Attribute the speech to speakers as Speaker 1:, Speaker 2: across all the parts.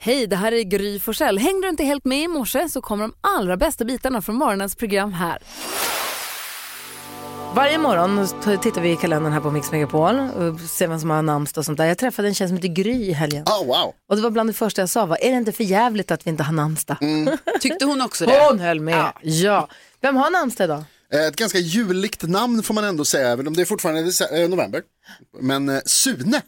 Speaker 1: Hej, det här är Gry Forssell. Hängde du inte helt med i morse så kommer de allra bästa bitarna från morgonens program här.
Speaker 2: Varje morgon t- tittar vi i kalendern här på Mix Megapol och ser vem som har namnsdag och sånt där. Jag träffade en tjej som heter Gry i helgen.
Speaker 3: Oh, wow.
Speaker 2: Och det var bland det första jag sa, var, är det inte för jävligt att vi inte har namnsdag?
Speaker 3: Mm.
Speaker 4: Tyckte hon också det?
Speaker 2: Hon höll med. Ja. Vem har namnsdag idag?
Speaker 3: Eh, Ett ganska juligt namn får man ändå säga, även om det är fortfarande dece- eh, november. Men eh, Sune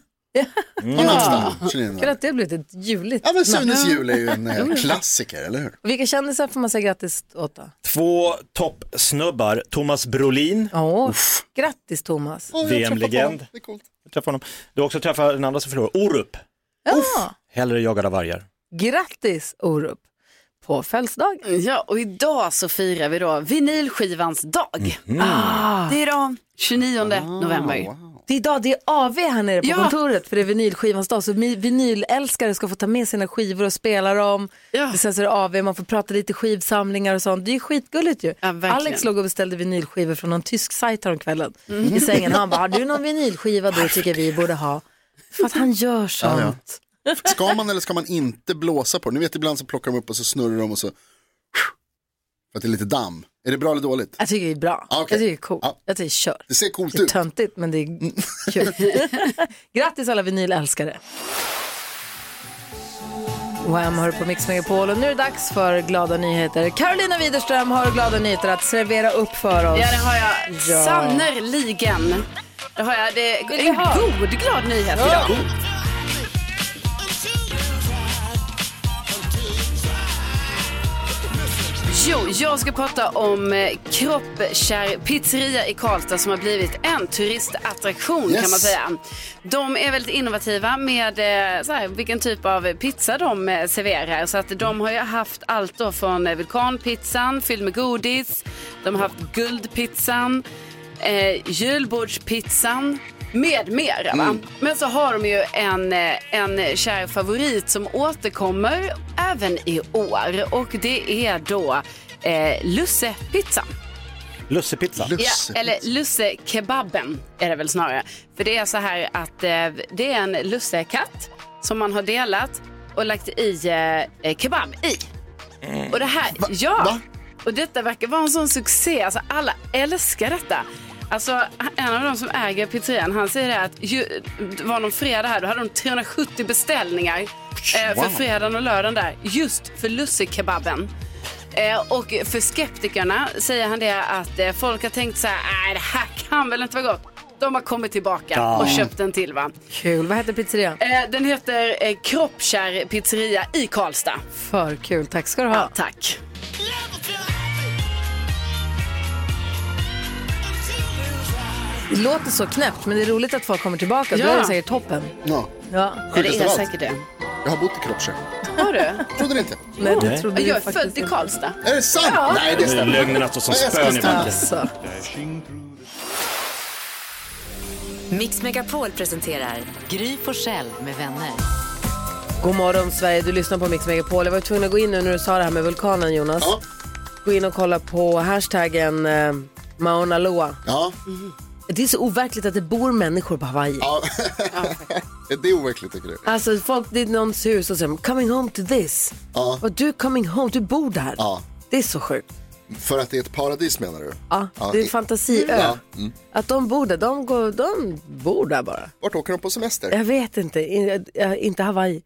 Speaker 3: har namnsdag. 29.
Speaker 2: Kul att det blivit ett juligt
Speaker 3: Ja, men
Speaker 2: namn. Mm.
Speaker 3: Sunes jul är ju en eh, klassiker, eller hur?
Speaker 2: Vilka kändisar får man säga grattis åt då?
Speaker 5: Två toppsnubbar, Thomas Brolin,
Speaker 2: Åh, grattis Thomas.
Speaker 3: Oh, jag
Speaker 5: VM-legend.
Speaker 3: träffade honom. Det är coolt.
Speaker 5: jag träffade honom. Du har också träffat den andra som förlorar, Orup.
Speaker 2: Ja.
Speaker 5: Hellre jagad av vargar.
Speaker 2: Grattis Orup på födelsedag.
Speaker 4: Ja, och idag så firar vi då vinylskivans dag.
Speaker 2: Mhm.
Speaker 4: Ah. Det är idag 29
Speaker 2: Ah.
Speaker 4: november.
Speaker 2: Det är idag det är AV här nere på
Speaker 4: Ja.
Speaker 2: kontoret för det är vinylskivans dag så mi- vinylälskare ska få ta med sina skivor och spela dem.
Speaker 4: Ja.
Speaker 2: Sen så är det AV, man får prata lite skivsamlingar och sånt. Det är ju skitgulligt ju.
Speaker 4: Ja, verkligen.
Speaker 2: Alex låg och beställde vinylskivor från någon tysk sajt häromkvällen
Speaker 4: Mm.
Speaker 2: i sängen. Han bara, har du någon vinylskiva du tycker vi borde ha? För att han gör sånt.
Speaker 3: Ska man eller ska man inte blåsa på det? Ni vet ibland så plockar de upp och så snurrar de och så. För att det är lite damm. Är det bra eller dåligt?
Speaker 2: Jag tycker det är bra.
Speaker 3: Ja, okej.
Speaker 2: Jag tycker det är coolt.
Speaker 3: Ja.
Speaker 2: Jag tycker kör.
Speaker 3: Det ser coolt
Speaker 2: Det är
Speaker 3: ut.
Speaker 2: töntigt men det är kul. Grattis alla vinylälskare. Wham hör på Mix Megapol och nu är det dags för glada nyheter. Carolina Widerström har glada nyheter att servera upp för oss.
Speaker 4: Ja, det har jag.
Speaker 2: Ja.
Speaker 4: Sannerligen. Det har jag. Det är
Speaker 2: vi
Speaker 4: en
Speaker 2: ha?
Speaker 4: god, glad nyhet idag.
Speaker 2: Oh.
Speaker 4: Jo, jag ska prata om eh, Kroppkärr pizzeria i Karlstad som har blivit en turistattraktion
Speaker 3: Yes.
Speaker 4: kan man säga. De är väldigt innovativa med eh, så här, vilken typ av pizza de eh, serverar. Så att de har ju haft allt då från eh, vulkanpizzan fylld med godis, de har haft guldpizzan, eh, julbordspizzan med mera. Va? Men så har de ju en, eh, en kär favorit som återkommer även i år och det är då eh, lussepizzan.
Speaker 5: Lussepizza.
Speaker 3: Lusse.
Speaker 4: Ja, eller lussekebaben är det väl snarare. För det är så här att eh, det är en lussekatt som man har delat och lagt i eh, eh, kebab i. Och det här, ja.
Speaker 3: Va?
Speaker 4: Och detta verkar vara en sån succé. Alltså alla älskar detta. Alltså en av de som äger pizzerian, han säger det här att ju, det var någon fredag här, då hade de 370 beställningar eh, för
Speaker 3: Wow.
Speaker 4: fredagen och lördagen där. Just för lussekebaben. Eh, och för skeptikerna säger han det att eh, folk har tänkt så här, nej det här kan väl inte vara gott. De har kommit tillbaka och köpt en till va.
Speaker 2: Kul. Vad heter pizzerian?
Speaker 4: Eh, den heter eh, Kroppkärr pizzeria i Karlstad.
Speaker 2: För kul. Tack ska du ha.
Speaker 4: Ja, tack.
Speaker 2: Det låter så knäppt men det är roligt att folk kommer tillbaka.
Speaker 4: Ja.
Speaker 2: Då är det säkert toppen.
Speaker 3: Ja.
Speaker 2: Ja.
Speaker 4: Ja, det
Speaker 3: Sjukaste
Speaker 4: är
Speaker 3: av allt.
Speaker 4: säkert det.
Speaker 3: Jag har bott i Kroppkärr.
Speaker 4: Har du?
Speaker 3: Trodde ni inte?
Speaker 2: Nej, det trodde
Speaker 4: Jag
Speaker 2: du
Speaker 4: är
Speaker 2: faktiskt
Speaker 4: född i
Speaker 2: inte.
Speaker 4: Karlstad.
Speaker 3: Är det sant? Nej, det stämmer.
Speaker 5: Lögnerna står som
Speaker 3: Nej, jag ska
Speaker 5: spön i
Speaker 3: stanna.
Speaker 5: backen.
Speaker 2: Alltså.
Speaker 6: Mix Megapol presenterar Gry Forssell med vänner.
Speaker 2: God morgon Sverige, du lyssnar på Mix Megapol. Jag var tvungen att gå in nu när du sa det här med vulkanen Jonas.
Speaker 3: Ja.
Speaker 2: Gå in och kolla på hashtaggen eh, Mauna Loa.
Speaker 3: Ja,
Speaker 2: Mm. Det är så overkligt att det bor människor på Hawaii.
Speaker 3: ja. det är overkligt tycker du.
Speaker 2: Alltså folk, det är någons hus och så säger de, coming home to this.
Speaker 3: Ja.
Speaker 2: Och du coming home, du bor där.
Speaker 3: Ja.
Speaker 2: Det är så sjukt.
Speaker 3: För att det är ett paradis menar du? Mm.
Speaker 2: Ja, det är fantasiö.
Speaker 3: Ja,
Speaker 2: Att de bor där, de, går, de bor där bara.
Speaker 3: Vart åker de på semester?
Speaker 2: Jag vet inte, I, äh, inte Hawaii.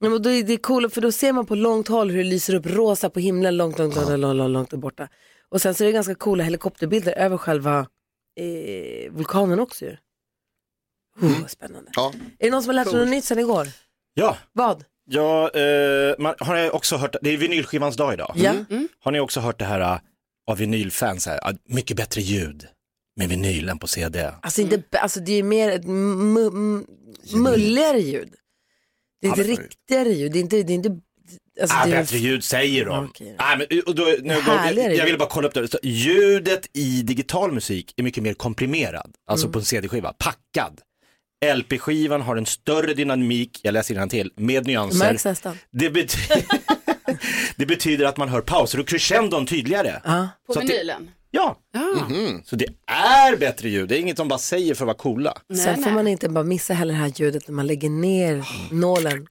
Speaker 2: Nej, men då är det är coolt för då ser man på långt håll hur det lyser upp rosa på himlen långt, långt, långt, långt, långt, långt där borta. Och sen så är det ganska coola helikopterbilder över själva eh, vulkanen också ju. Oh, vad spännande.
Speaker 3: Ja.
Speaker 2: Är det någon som har lärt sig något nytt sen igår?
Speaker 5: Ja,
Speaker 2: Vad?
Speaker 5: ja eh, man, har jag också hört, det är vinylskivans dag idag.
Speaker 2: Ja.
Speaker 3: Mm.
Speaker 5: Har ni också hört det här eh, av vinylfans här, ah, mycket bättre ljud med vinyl än på CD.
Speaker 2: Alltså, inte, alltså det är mer ett m- m- mulligare ljud. Det är ett
Speaker 3: Ja, men-
Speaker 2: riktigare ljud. Det är inte... Det är inte alltså,
Speaker 5: Ah,
Speaker 2: det är-
Speaker 5: bättre ljud säger de.
Speaker 2: Okej.
Speaker 5: Ah, men, och då, nu,
Speaker 2: Härligare
Speaker 5: jag, jag ville
Speaker 2: ljud.
Speaker 5: bara kolla upp det. Så, ljudet i digital musik är mycket mer komprimerad,
Speaker 2: Mm.
Speaker 5: alltså på en CD-skiva, packad. LP-skivan har en större dynamik, jag läser till med
Speaker 2: Det
Speaker 5: nyanser.
Speaker 2: märks nästan.
Speaker 5: Det, bety- det betyder att man hör pauser och crescendon tydligare.
Speaker 4: På
Speaker 5: Så att det-
Speaker 4: vinylen.
Speaker 5: Ja, Mhm.
Speaker 4: Ja.
Speaker 5: så det är bättre ljud, det är inget de bara säger för att vara coola.
Speaker 4: Nej,
Speaker 2: Sen får
Speaker 4: nej.
Speaker 2: man inte bara missa heller det här ljudet när man lägger ner nålen.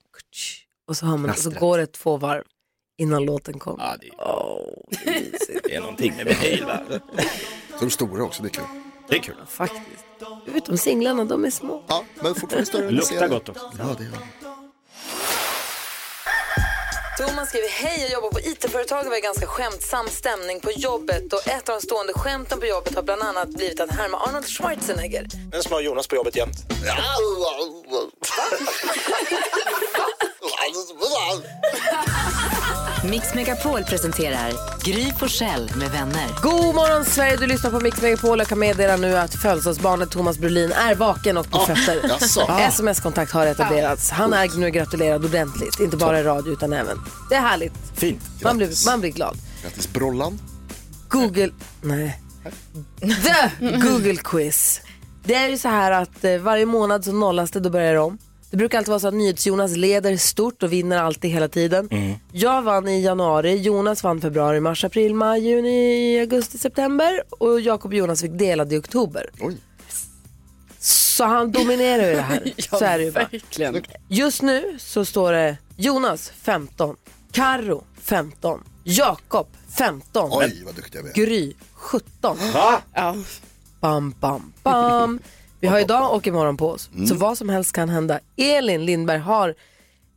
Speaker 2: och så, hör man, och så
Speaker 5: Knastret.
Speaker 2: går det två varv innan låten kommer.
Speaker 5: Ja, det,
Speaker 2: Åh, det är mysigt.
Speaker 5: det är någonting med vinyl va?
Speaker 3: Så de stora också, det är kul.
Speaker 5: Det är kul.
Speaker 2: Faktiskt. Utom singlarna, de är små.
Speaker 3: Ja, men fortfarande större än
Speaker 5: Luktar
Speaker 3: serien.
Speaker 5: gott också.
Speaker 3: Ja, det gör det.
Speaker 7: Thomas skriver, hej jag jobbar på IT-företag och vi har ganska skämtsam stämning på jobbet och ett av de stående skämten på jobbet har bland annat blivit att härma Arnold Schwarzenegger.
Speaker 5: Den som har Jonas på jobbet jämt.
Speaker 6: Mix Megapol presenterar Gry Forssell med vänner.
Speaker 2: God morgon Sverige, du lyssnar på Mix Megapol. Jag kan meddela nu att födelsedagsbarnet Thomas Brolin är vaken och på fötter.
Speaker 3: jaså?
Speaker 2: Sms-kontakt har etablerats. Han är nu gratulerad ordentligt, inte bara i radio utan även. Det är härligt,
Speaker 5: Fint.
Speaker 2: man blir, man blir glad.
Speaker 3: Grattis Brollan.
Speaker 2: Google... Nej. The Google Quiz. Det är ju så här att eh, varje månad så nollas det, då börjar det om. Det brukar alltid vara så att NyhetsJonas leder stort och vinner alltid hela tiden.
Speaker 3: Mm.
Speaker 2: Jag vann i januari, Jonas vann februari, mars, april, maj, juni, augusti, september och Jakob och Jonas fick delade i oktober.
Speaker 3: Oj.
Speaker 2: Så han dominerar ju det här. så är det ju bara.
Speaker 4: Verkligen.
Speaker 2: Just nu så står det Jonas 15, Karo 15, Jakob 15,
Speaker 3: Oj, vad duktiga vi är.
Speaker 2: Gry 17.
Speaker 5: Va?
Speaker 4: Ja.
Speaker 2: Bam, bam, bam. Vi har idag och imorgon på oss, så vad som helst kan hända. Elin Lindberg har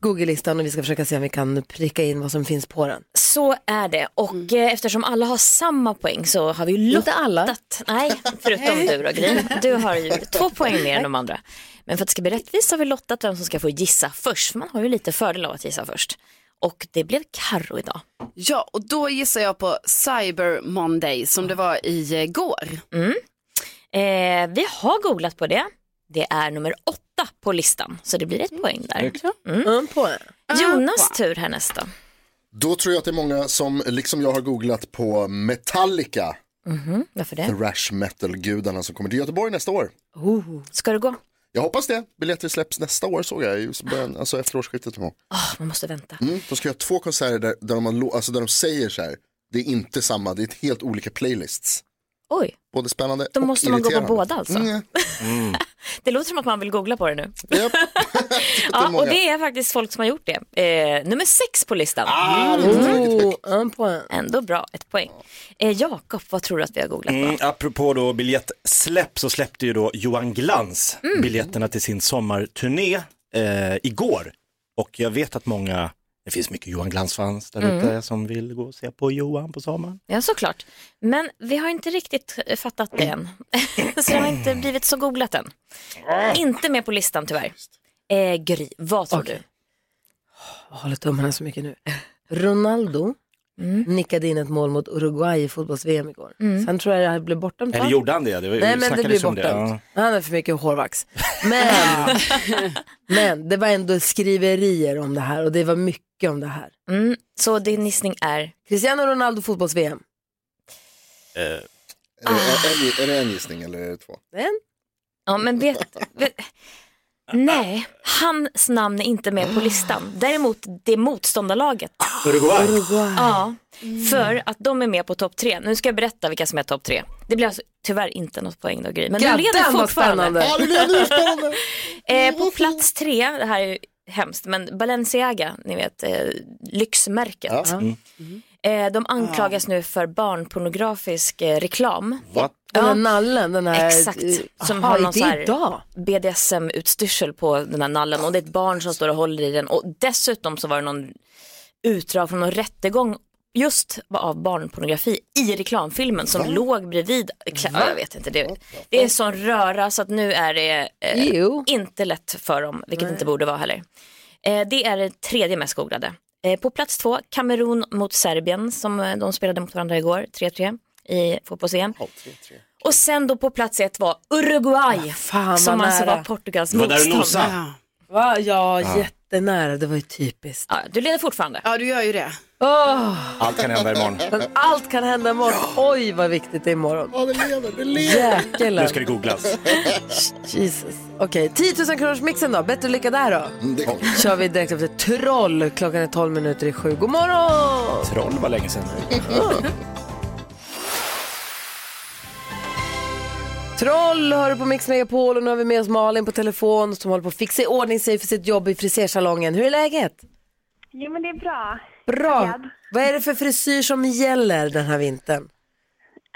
Speaker 2: Google-listan och vi ska försöka se om vi kan pricka in vad som finns på den.
Speaker 8: Så är det och eh, eftersom alla har samma poäng så har vi ju lottat.
Speaker 2: Mm. Inte alla.
Speaker 8: Nej, förutom du då Gry. Du har ju två poäng mer än de andra. Men för att det ska bli rättvist har vi lottat vem som ska få gissa först. För man har ju lite fördel av att gissa först. Och det blev Karo idag.
Speaker 4: ja, och då gissar jag på Cyber Monday som det var igår.
Speaker 8: Mm. Eh, vi har googlat på det. Det är nummer åtta på listan så det blir ett poäng där.
Speaker 2: Mm, på den.
Speaker 8: Jonas tur här nästa.
Speaker 3: Då tror jag att det är många som, liksom jag, har googlat på Metallica.
Speaker 8: Mhm, Varför
Speaker 3: The
Speaker 8: det?
Speaker 3: Rash Metal-gudarna som kommer till Göteborg nästa år.
Speaker 8: Ska du gå?
Speaker 3: Jag hoppas det. Biljetter släpps nästa år såg jag, i början, alltså efter årsskiftet. någon gång.
Speaker 8: Ah, man måste vänta.
Speaker 3: Mm, de ska göra två konserter där, där, de har, lo- alltså där de säger så här, det är inte samma, det är helt olika playlists.
Speaker 8: Oj,
Speaker 3: Både spännande
Speaker 8: då
Speaker 3: och
Speaker 8: måste man gå på
Speaker 3: irriterande.
Speaker 8: båda alltså.
Speaker 3: Mm,
Speaker 8: Det låter som att man vill googla på det nu.
Speaker 3: japp.
Speaker 8: Ja,
Speaker 3: många.
Speaker 8: och det är faktiskt folk som har gjort det. Eh, nummer sex på listan.
Speaker 3: Ah,
Speaker 8: Mm.
Speaker 2: Oh, en poäng.
Speaker 8: Ändå bra, ett poäng. Eh, Jakob, vad tror du att vi har googlat på?
Speaker 5: Mm, apropå då biljettsläpp så släppte ju då Johan Glans biljetterna till sin sommarturné eh, igår. Och jag vet att många, det finns mycket Johan Glans-fans där ute som vill gå och se på Johan på sommaren.
Speaker 8: Ja, såklart. Men vi har inte riktigt eh, fattat det än. så det har inte blivit så googlat än.
Speaker 3: Ah.
Speaker 8: Inte med på listan tyvärr. Eh, Gry, vad tror du?
Speaker 2: Jag håller tummarna så mycket nu. Ronaldo
Speaker 8: Mm.
Speaker 2: nickade in ett mål mot Uruguay i fotbolls-VM igår. Sen tror jag det här blev bortom
Speaker 5: Eller gjorde han det? det var,
Speaker 2: Nej men det blir
Speaker 5: snackades om
Speaker 2: bortom.
Speaker 5: Ja.
Speaker 2: Han har för mycket hårvax. Men, men det var ändå skriverier om det här och det var mycket om det här.
Speaker 8: Mm, så din gissning är?
Speaker 2: Cristiano Ronaldo fotbolls-VM.
Speaker 3: Eh, Är, det, är, är det en gissning eller är det två?
Speaker 2: Men,
Speaker 8: Ja, men vet... vet nej, hans namn är inte med på listan. Däremot det motståndarlaget.
Speaker 5: Uruguay.
Speaker 8: Ja, för att de är med på topp tre. Nu ska jag berätta vilka som är topp tre. Det blir alltså tyvärr inte något poäng då Gry, men du leder
Speaker 2: Gaddan vad
Speaker 8: fortfarande.
Speaker 2: spännande.
Speaker 3: Ja, det blev nu spännande!
Speaker 8: Eh, på plats tre, det här är ju hemskt, men Balenciaga, ni vet eh, lyxmärket.
Speaker 5: Mm.
Speaker 8: Eh, de anklagas nu för barnpornografisk eh, reklam,
Speaker 5: Va?
Speaker 2: Den här nallen, den här...
Speaker 8: Exakt.
Speaker 2: eh,
Speaker 8: Som
Speaker 2: aha,
Speaker 8: har någon
Speaker 2: det
Speaker 8: så
Speaker 2: är
Speaker 8: här-
Speaker 2: idag.
Speaker 8: BDSM-utstyrsel på den här nallen och det är ett barn som står och håller i den och dessutom så var det någon utdrag från någon rättegång just av barnpornografi i reklamfilmen som låg bredvid. Kla- Ja, jag vet inte, det, det är en sån röra så att nu är det eh,
Speaker 2: Ew.
Speaker 8: inte lätt för dem, vilket inte borde vara heller. Eh, det är det tredje mest googlade. Eh, på plats två, Kamerun mot Serbien som eh, de spelade mot varandra igår, 3-3 i fotbolls-EM. Och sen då på plats ett var Uruguay
Speaker 2: Fan vad
Speaker 8: som alltså
Speaker 2: Ah, nära.
Speaker 8: var Portugals
Speaker 5: Det var där du
Speaker 8: motståndare.
Speaker 5: nosade.
Speaker 2: Va? Ja, jättenära. Det var ju typiskt.
Speaker 8: Ja, du leder fortfarande.
Speaker 4: Ja, du gör ju det.
Speaker 2: Åh,
Speaker 5: Allt kan hända imorgon.
Speaker 2: men allt kan hända imorgon. Oj, vad viktigt det är imorgon.
Speaker 3: Ja, det lever, det lever!
Speaker 5: Nu
Speaker 2: Jäklar.
Speaker 5: ska det googlas.
Speaker 2: Jesus. Okej, 10 000 kronors mixen då. Bättre lycka där då.
Speaker 3: Mm, Det är klart.
Speaker 2: kör vi direkt efter Troll. Klockan är 12 minuter i sju. God morgon!
Speaker 5: Troll var länge sedan.
Speaker 2: Troll hör du på Mix Megapol och nu har vi med oss Malin på telefon som håller på att fixa i ordning sig för sitt jobb i frisersalongen. Hur är läget?
Speaker 9: Jo, men det är bra.
Speaker 2: Bra.
Speaker 9: Taggad.
Speaker 2: Vad är det för frisyr som gäller den här vintern?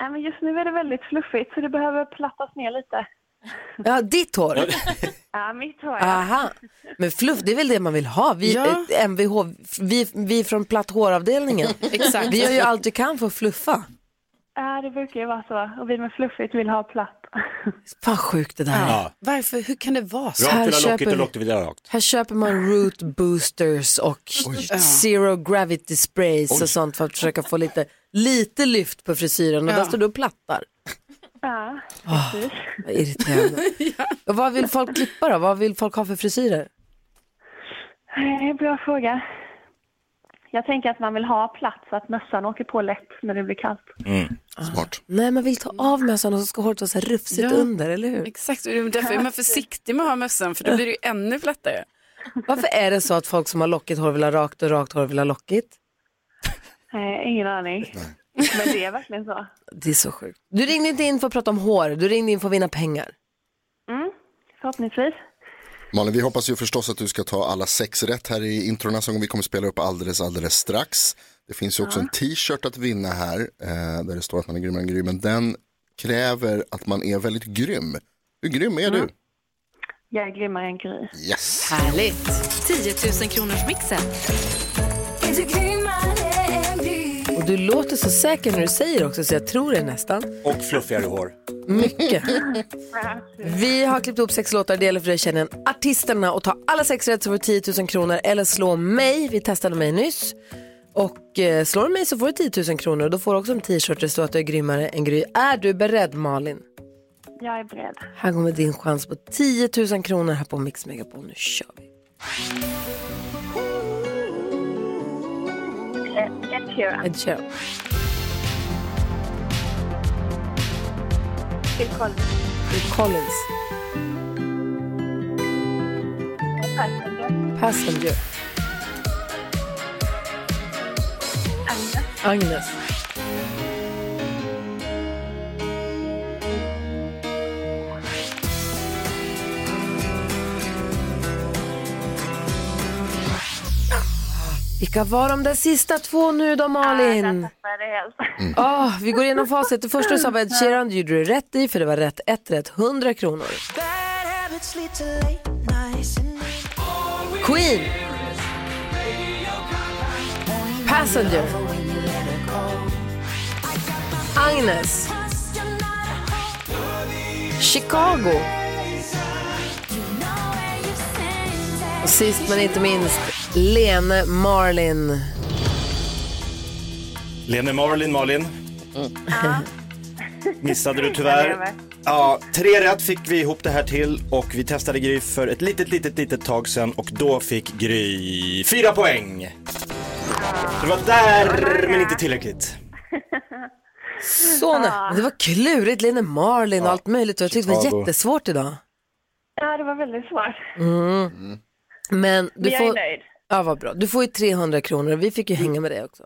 Speaker 9: Äh, men just nu är det väldigt fluffigt, så det behöver plattas ner lite.
Speaker 2: Ja, ditt hår.
Speaker 9: Ja, mitt hår. ja.
Speaker 2: Aha. Men fluff, det är väl det man vill ha? Vi,
Speaker 4: Ja.
Speaker 2: eh, MVH, vi, vi från platt håravdelningen.
Speaker 4: Exakt.
Speaker 2: Vi gör ju allt vi kan för att fluffa.
Speaker 9: Ja, det brukar ju vara så. Och vi med fluffigt vill ha platt.
Speaker 2: Fan sjukt det där.
Speaker 5: Ja.
Speaker 4: Varför, hur kan det vara så?
Speaker 2: här
Speaker 5: Rakt vill ha lockigt
Speaker 2: köper vi.
Speaker 5: och lockigt vill ha rakt.
Speaker 2: Här köper man root boosters och zero gravity sprays och sånt för att försöka få lite, lite lyft på frisyren och där står du och plattar.
Speaker 9: Ja.
Speaker 2: Vad irriterande. Och vad vill folk klippa då? Vad vill folk ha för frisyrer?
Speaker 9: Eh, Bra fråga. Jag tänker att man vill ha platt så att mössan åker på lätt när det blir kallt.
Speaker 3: Smart.
Speaker 2: Nej, man vill ta av mössan och så ska håret vara så här rufsigt
Speaker 4: Ja.
Speaker 2: under, eller hur?
Speaker 4: Exakt, och det är därför är man försiktig med att ha mössan för då blir det ju ännu plattare.
Speaker 2: Varför är det så att folk som har lockigt hår vill ha rakt och rakt hår vill ha lockigt?
Speaker 9: Eh, Ingen aning. Men det är verkligen så.
Speaker 2: Det är så sjukt. Du ringde inte in för att prata om hår, du ringde in för att vinna pengar.
Speaker 9: Förhoppningsvis.
Speaker 3: Malin, vi hoppas ju förstås att du ska ta alla sex rätt här i introna som vi kommer spela upp alldeles, alldeles strax. Det finns ju också en t-shirt att vinna här, eh, där det står att man är grymmare än grym, men den kräver att man är väldigt grym. Hur grym är
Speaker 2: Mm.
Speaker 3: du?
Speaker 9: Jag är grymmare än Gry.
Speaker 3: Yes!
Speaker 6: Härligt! 10 000 kronors mixen.
Speaker 2: Och du låter så säker när du säger också, så jag tror det nästan.
Speaker 5: Och fluffigare hår.
Speaker 2: Mycket. Vi har klippt upp sex låtar. Det gäller för dig att känna igen artisterna och ta alla sex rätt så får du 10 000 kronor. Eller slå mig. Vi testade mig nyss. Och eh, slår du mig så får du 10 000 kronor. Och då får du också en t-shirt där det står att du är grymmare än Gry. Är du beredd Malin?
Speaker 9: Jag är beredd.
Speaker 2: Här kommer din chans på 10 000 kronor här på Mix Megapol. Nu kör vi.
Speaker 9: Eh, Ed Sheeran,
Speaker 2: Ed Sheeran.
Speaker 9: Phil Collins,
Speaker 2: Phil Collins.
Speaker 9: Passenger,
Speaker 2: Passenger.
Speaker 9: Agnes,
Speaker 2: Agnes. Vilka var de där sista två nu då Malin?
Speaker 9: Vad är det helt?
Speaker 2: Ah, vi går igenom facit. Det första du sa var Ed Sheeran, det gjorde du rätt i för det var rätt ett rätt, 100 kronor. Queen. Passenger. Agnes. Chicago. Och sist men inte minst, Lene Marlin.
Speaker 5: Lene Marlin, Malin. Missade du tyvärr.
Speaker 9: lever.
Speaker 5: Ja, tre rätt fick vi ihop det här till och vi testade Gry för ett litet, litet, litet tag sedan och då fick Gry fyra poäng. Det var där, men inte tillräckligt.
Speaker 2: Så nä-
Speaker 9: Ah.
Speaker 2: Men Det var klurigt, Lene Marlin och allt möjligt. Och jag tyckte det var
Speaker 5: Chicago.
Speaker 2: jättesvårt idag. Mm.
Speaker 9: Ja, det var väldigt svårt.
Speaker 4: Mm.
Speaker 2: Men du
Speaker 9: Men jag är
Speaker 2: får...
Speaker 9: nöjd.
Speaker 2: Ja, vad bra. Du får ju 300 kronor. Vi fick ju hänga med dig också.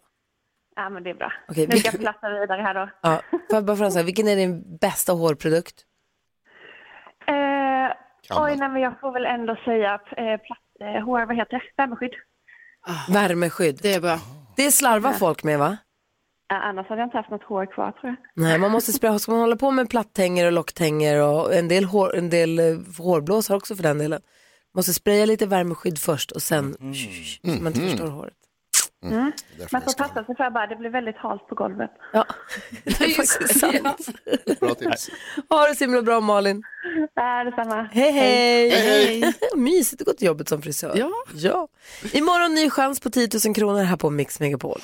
Speaker 9: Ja, men det är bra.
Speaker 2: Okej,
Speaker 9: Nu
Speaker 2: vi-
Speaker 9: ska jag platta vidare här då.
Speaker 2: Ja. Får jag bara fråga, så här, vilken är din bästa hårprodukt?
Speaker 9: Eh,
Speaker 3: Kan man.
Speaker 9: oj, nej, men jag får väl ändå säga eh, platt, eh, hår, vad heter det? Värmeskydd.
Speaker 2: Värmeskydd.
Speaker 4: Ah. Det är bra.
Speaker 2: Det slarvar folk med, va?
Speaker 9: Ja, annars hade jag inte haft något hår kvar tror jag.
Speaker 2: Nej, man måste spraya. Ska man hålla på med platthänger och locktänger och en del, hår, en del eh, hårblåsar också för den delen. Måste spraya lite värmeskydd först och sen så man inte förstör håret.
Speaker 3: Därför
Speaker 9: Man
Speaker 3: jag
Speaker 9: får
Speaker 3: ska-
Speaker 9: passa sig för bara, det blir väldigt halt på golvet.
Speaker 2: Ja, det är faktiskt sant.
Speaker 3: Bra tips.
Speaker 2: Ha det så himla bra Malin.
Speaker 9: Ja, detsamma.
Speaker 2: Hej hej!
Speaker 3: Hej,
Speaker 2: Mysigt att gå till jobbet som frisör.
Speaker 4: Ja.
Speaker 2: ja. Imorgon ny chans på 10 000 kronor här på Mix Megapol.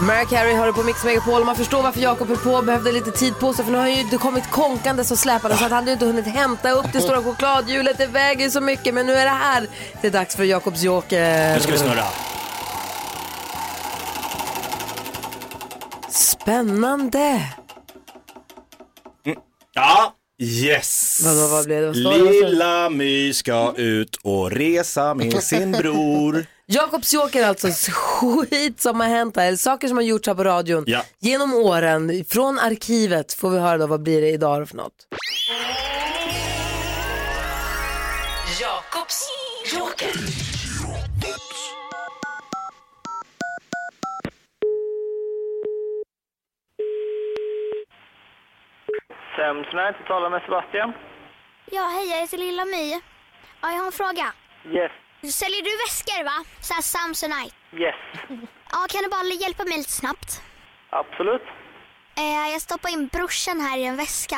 Speaker 2: Mariah Carey har det på Mix Megapol. Man förstår varför Jakob är på behövde lite tid på sig för nu har ju det kommit konkandes och släpande så att han hade ju inte hunnit hämta upp det stora chokladhjulet. Det väger ju så mycket men nu är det här. Det är dags för Jakobs joker.
Speaker 5: Nu ska vi snurra.
Speaker 2: Spännande!
Speaker 5: Ja, yes.
Speaker 2: Vadå, vad blev det? Vad står det? Vad står det?
Speaker 5: Lilla My ska ut och resa med sin bror.
Speaker 2: Jakobs joker är alltså skit som har hänt här, eller saker som har gjorts här på radion
Speaker 5: Ja.
Speaker 2: genom åren. Från arkivet får vi höra då, vad blir det idag då för något?
Speaker 6: Jakobs joker.
Speaker 10: Sömsnäs, du talar med Sebastian.
Speaker 11: Ja, hej, jag heter Lilla My. Ja, jag har en fråga.
Speaker 10: Yes,
Speaker 11: Säljer du väskor, va? Så här Samsonite.
Speaker 10: yes,
Speaker 11: Ja, kan du bara hjälpa mig lite snabbt?
Speaker 10: absolut.
Speaker 11: Eh, jag stoppar in brorsan här i en väska.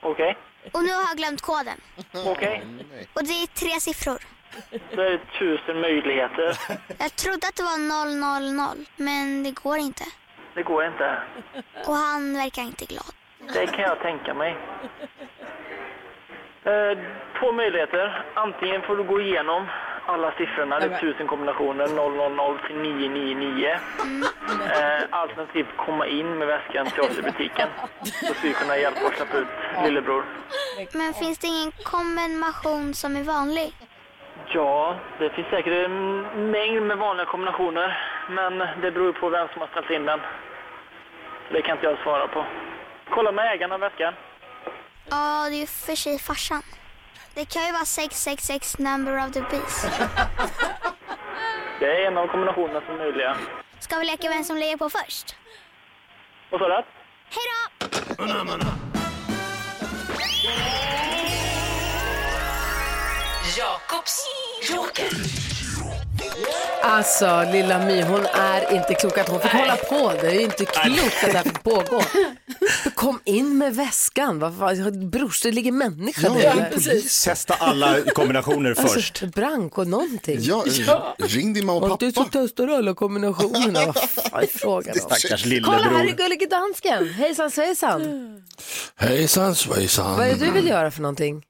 Speaker 10: Okej,
Speaker 11: Och nu har jag glömt koden.
Speaker 10: okej.
Speaker 11: Och det är tre siffror.
Speaker 10: Då är det tusen möjligheter.
Speaker 11: Jag trodde att det var 000, men det går inte.
Speaker 10: Det går inte.
Speaker 11: Och han verkar inte glad.
Speaker 10: Det kan jag tänka mig. Eh, två möjligheter. Antingen får du gå igenom alla siffrorna, det är tusen kombinationer, 000 till 999. Eh, alternativt komma in med väskan till oss i butiken. Då ska vi kunna hjälpa och släppa ut lillebror.
Speaker 11: Men finns det ingen kombination som är vanlig?
Speaker 10: Ja, det finns säkert en mängd med vanliga kombinationer. Men det beror på vem som har ställt in den. Så det kan inte jag svara på. Kolla med ägaren av väskan.
Speaker 11: Ja, det är ju för sig farsan. Det kan ju vara 666 number of the beast.
Speaker 10: Det är en av kombinationerna som är möjliga.
Speaker 11: Ska vi leka vem som lägger på först?
Speaker 10: Vad sa du?
Speaker 11: Hej då!
Speaker 6: Jakobs Joker.
Speaker 2: Alltså, lilla My, hon är inte klok att hon fick hålla på. Det är ju inte klokt att det här fick pågå. Kom in med väskan. Vad fan, brors, det ligger människa
Speaker 5: Ja,
Speaker 2: där.
Speaker 5: ring polisen. Testa alla kombinationer först.
Speaker 2: Alltså, brandkår, någonting.
Speaker 5: Ja, Ja.
Speaker 3: ring din mamma
Speaker 2: och pappa. Du så testar alla kombinationerna. Vad fan är frågan om?
Speaker 5: Stackars
Speaker 2: Kolla, här
Speaker 5: lillebror.
Speaker 2: är gullige dansken. Hejsan svejsan.
Speaker 4: Mm.
Speaker 12: Hejsan svejsan.
Speaker 2: Vad är det du vill göra för någonting?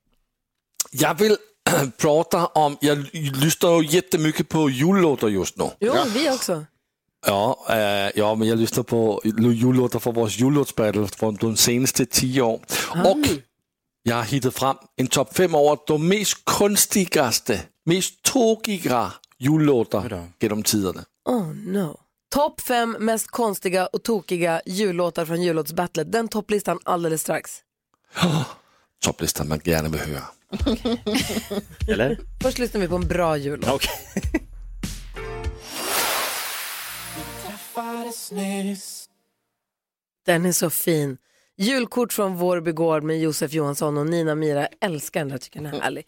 Speaker 12: Jag vill prata om, jag lyssnar ju jättemycket på jullåtar just nu.
Speaker 2: Jo, vi också.
Speaker 12: Ja, eh, ja, men jag lyssnar på jullåtar från vår jullåtsbattle från de senaste tio åren.
Speaker 2: Ah.
Speaker 12: Och jag har hittat fram en topp fem över de mest konstigaste, mest tokiga jullåtar genom tiderna.
Speaker 2: Oh no. Topp fem mest konstiga och tokiga jullåtar från jullåtsbattlet. Den topplistan alldeles strax.
Speaker 12: Topplistan man gärna vill höra.
Speaker 5: Eller?
Speaker 2: Först lyssnar vi på en bra jullåt.
Speaker 5: Okay.
Speaker 2: Den är så fin. Julkort från Vårby gård med Josef Johansson och Nina Mira. Jag Älskar den, jag tycker den är härlig.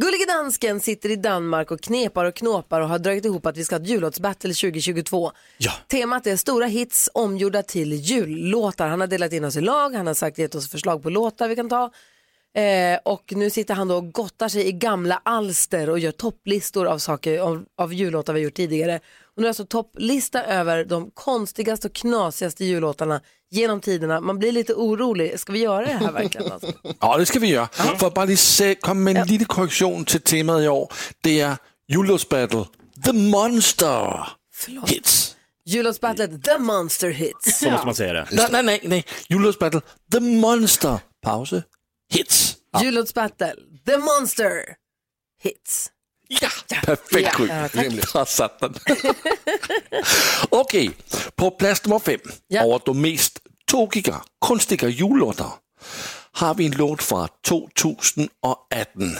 Speaker 2: Gullige dansken sitter i Danmark och knepar och knåpar och har dragit ihop att vi ska ha ett jullåtsbattle 2022.
Speaker 5: Ja.
Speaker 2: Temat är stora hits omgjorda till jullåtar. Han har delat in oss i lag, han har sagt gett oss förslag på låtar vi kan ta. Eh, och nu sitter han då och gottar sig i gamla alster och gör topplistor av saker av, av jullåtar vi gjort tidigare. Och nu är alltså topplista över de konstigaste och knasigaste jullåtarna genom tiderna. Man blir lite orolig, ska vi göra det här verkligen? Alltså?
Speaker 12: Ja, det ska vi göra. För att bara lige se- komme med en lille korrektion till temat i år. Det är jullåtsbattle, The Monster Hits.
Speaker 2: Jullåtsbattlet The Monster Hits.
Speaker 5: Så måste man säga det.
Speaker 12: Nej, nej, nej, nej. Jullåtsbattle, The Monster Pause Hits.
Speaker 2: Jullåtsbattle The Monster Hits.
Speaker 12: Perfekt Gry.
Speaker 2: Ja, tack.
Speaker 12: Där satt den. Okej, på plats nummer fem över de mest tokiga, konstiga jullåtar har vi en låt från 2018.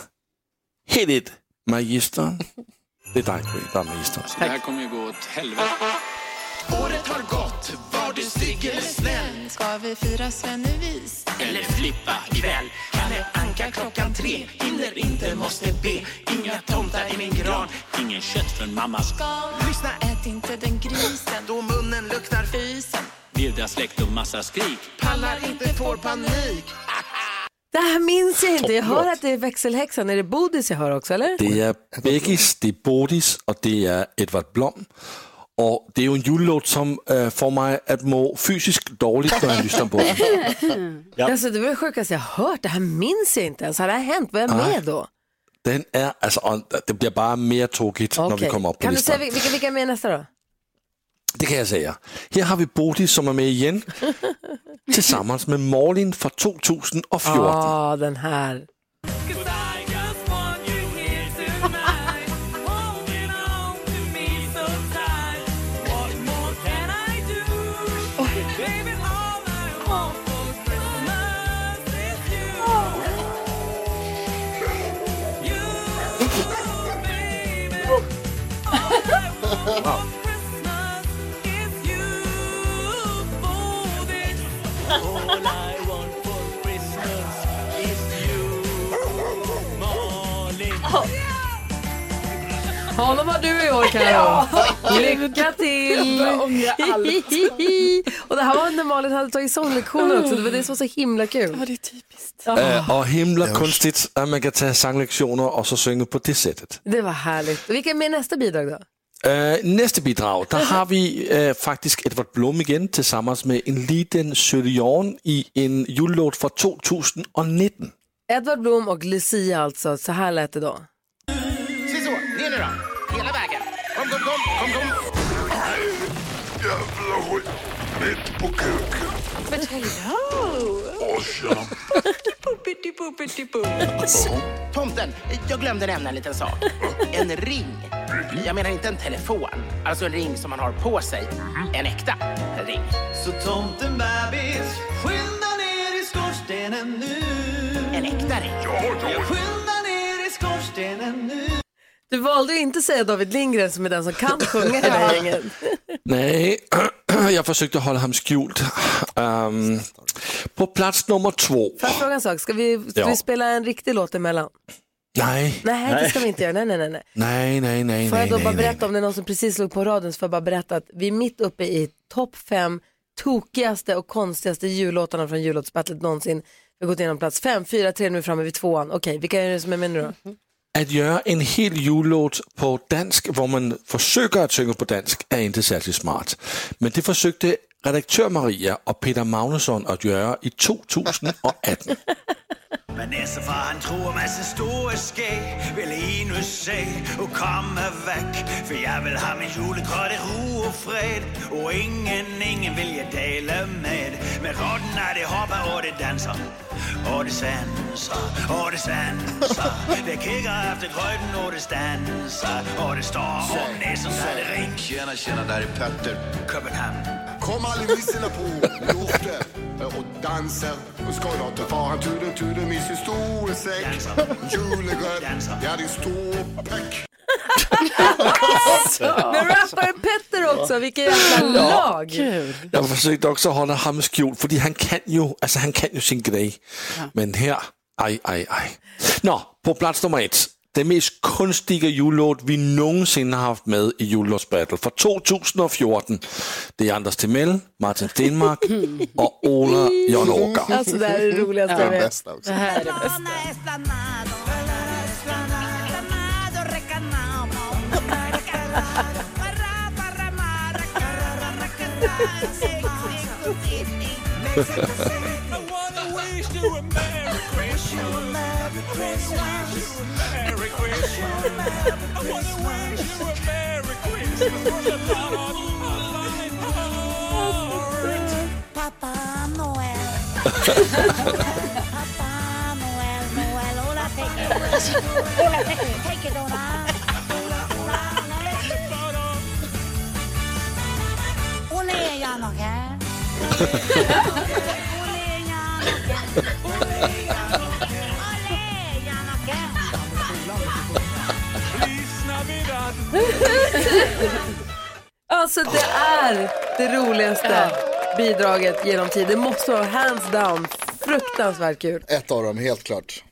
Speaker 12: Hit it, magistern. Det är dig, Gry, där är magistern.
Speaker 13: Det här kommer ju gå åt helvete. Året har gått, var du snygg eller snäll? Ska vi fira Svennevis? Eller flippa ikväll? Kalle Anka klockan tre, hinner inte, måste be. Inga tomtar i min gran, ingen kött från mammas
Speaker 14: Lyssna, ät inte den grisen då munnen luktar fysen.
Speaker 13: Bjuda släkt och massa skrik.
Speaker 14: Pallar inte får panik.
Speaker 2: Det här minns jag inte. Jag hör att det är växelhäxan. Är det Bodis jag hör också eller?
Speaker 12: Det är Beggis, det är Bodis och det är Edvard Blom. Och det är ju en jullåt som äh, får mig att må fysiskt dåligt när jag lyssnar på den.
Speaker 2: Alltså, det var det sjukaste jag hört. Det här minns jag inte ens. Har det här hänt? Var jag
Speaker 12: Nej.
Speaker 2: med då?
Speaker 12: Den är, alltså, och det blir bara mer tokigt när vi
Speaker 2: Okej.
Speaker 12: kommer upp på
Speaker 2: Kan du säga
Speaker 12: listan.
Speaker 2: vil- vilka, vilka är med nästa då?
Speaker 12: Det kan jag säga. Här har vi Bodis som är med igen tillsammans med Malin från 2014.
Speaker 2: Ja, den här.
Speaker 13: All I want for Christmas
Speaker 1: Honom har du i år Karo. Lycka till!
Speaker 2: Jag ångrar
Speaker 1: allt.
Speaker 2: Och det här var när Malin hade tagit sånglektioner också. Det var det som var så himla kul. Ja,
Speaker 1: det är typiskt.
Speaker 12: Øh, og himler kunstigt, at man kan tage sanglektioner og så synge på det sættet.
Speaker 2: Det var härligt. Och vilka är med i nästa bidrag då?
Speaker 12: Øh, næste bidrag, der har vi øh, faktisk Edvard Blom igen, tilsammens med en liten søde jorn i en julelåt fra 2019.
Speaker 2: Edvard Blom och Lucia alltså. Så här lät det då.
Speaker 13: Se så, ner nu då. Hela vägen. Kom, kom, kom, kom, kom. Jävla skit. Mitt på kuken. Men hello! Åh, tjena. Tomten, jag glömde nämna en liten sak. En ring. Jag menar inte en telefon. Alltså en ring som man har på sig. En äkta ring. Mm-hmm. Så tomten bebis, skynda ner i skorstenen nu. En äkta ring. Ja, ja. Skynda ner i skorstenen nu.
Speaker 2: Du valde ju inte säga David Lindgren som är den som kan sjunga i det här gänget.
Speaker 12: Nej, jeg forsøgte at holde ham skjult. Øhm, på plads nummer to.
Speaker 2: Får jag fråga en sak? Ska vi, ska
Speaker 12: Ja.
Speaker 2: vi spela en riktig låt emellan?
Speaker 12: Nej.
Speaker 2: Nej, det ska vi inte göra. Nej, nej, nej. nej.
Speaker 12: Nej, nej, nej,
Speaker 2: Får jag
Speaker 12: nej,
Speaker 2: då bara
Speaker 12: nej, nej.
Speaker 2: berätta om det är någon som precis slog på radion så får jag bara berätta att vi är mitt uppe i topp fem tokigaste och konstigaste jullåtarna från jullåtsbattlet någonsin. Vi har gått igenom plats fem, fyra, tre, nu är vi framme vid tvåan. Okej, vilka är det som är med nu då?
Speaker 12: At gøre en hel julelåt på dansk, hvor man forsøger at synge på dansk, er ikke særlig smart. Men det forsøgte redaktør Maria og Peter Magnusson at gøre i 2018.
Speaker 13: Vanessa-far han tror masse store skæg Vil en sag og komme væk For jeg vil have min julegrøt i ro og fred Og ingen, ingen vil jeg dale med Med rotten er det hopper og det danser Og det sanser, og det sanser Det kigger efter grøten og det stanser Og det står om næsen, så er det ring
Speaker 15: Tjena, tjena, där är Petter.
Speaker 13: København
Speaker 15: Kom allivisorna på låten och dansen. Och ska jag ta faran turen, turen, min historiesäck. Julegröt, ja din ståpäck.
Speaker 2: Med rapparen Petter också, vilket jävla lag!
Speaker 12: Jeg forsøgte også at holde ham skjult, fordi han kan jo, altså han kan jo sin grej. Men her, ej, ej, ej. Nå, på plads nummer et. Det mest kunstige julelåt, vi nogensinde har haft med i julelåtsbattle fra 2014. Det er Anders Timell, Martin Stenmark og Ola John Åker.
Speaker 2: Alltså det här är det roligaste
Speaker 12: Ja.
Speaker 2: jag
Speaker 12: Det
Speaker 2: vet.
Speaker 12: bästa också.
Speaker 2: Det här är det bästa. Alltså det är det roligaste bidraget genom tid. Det måste vara hands down. Fruktansvärt kul.
Speaker 3: Ett av dem, helt klart.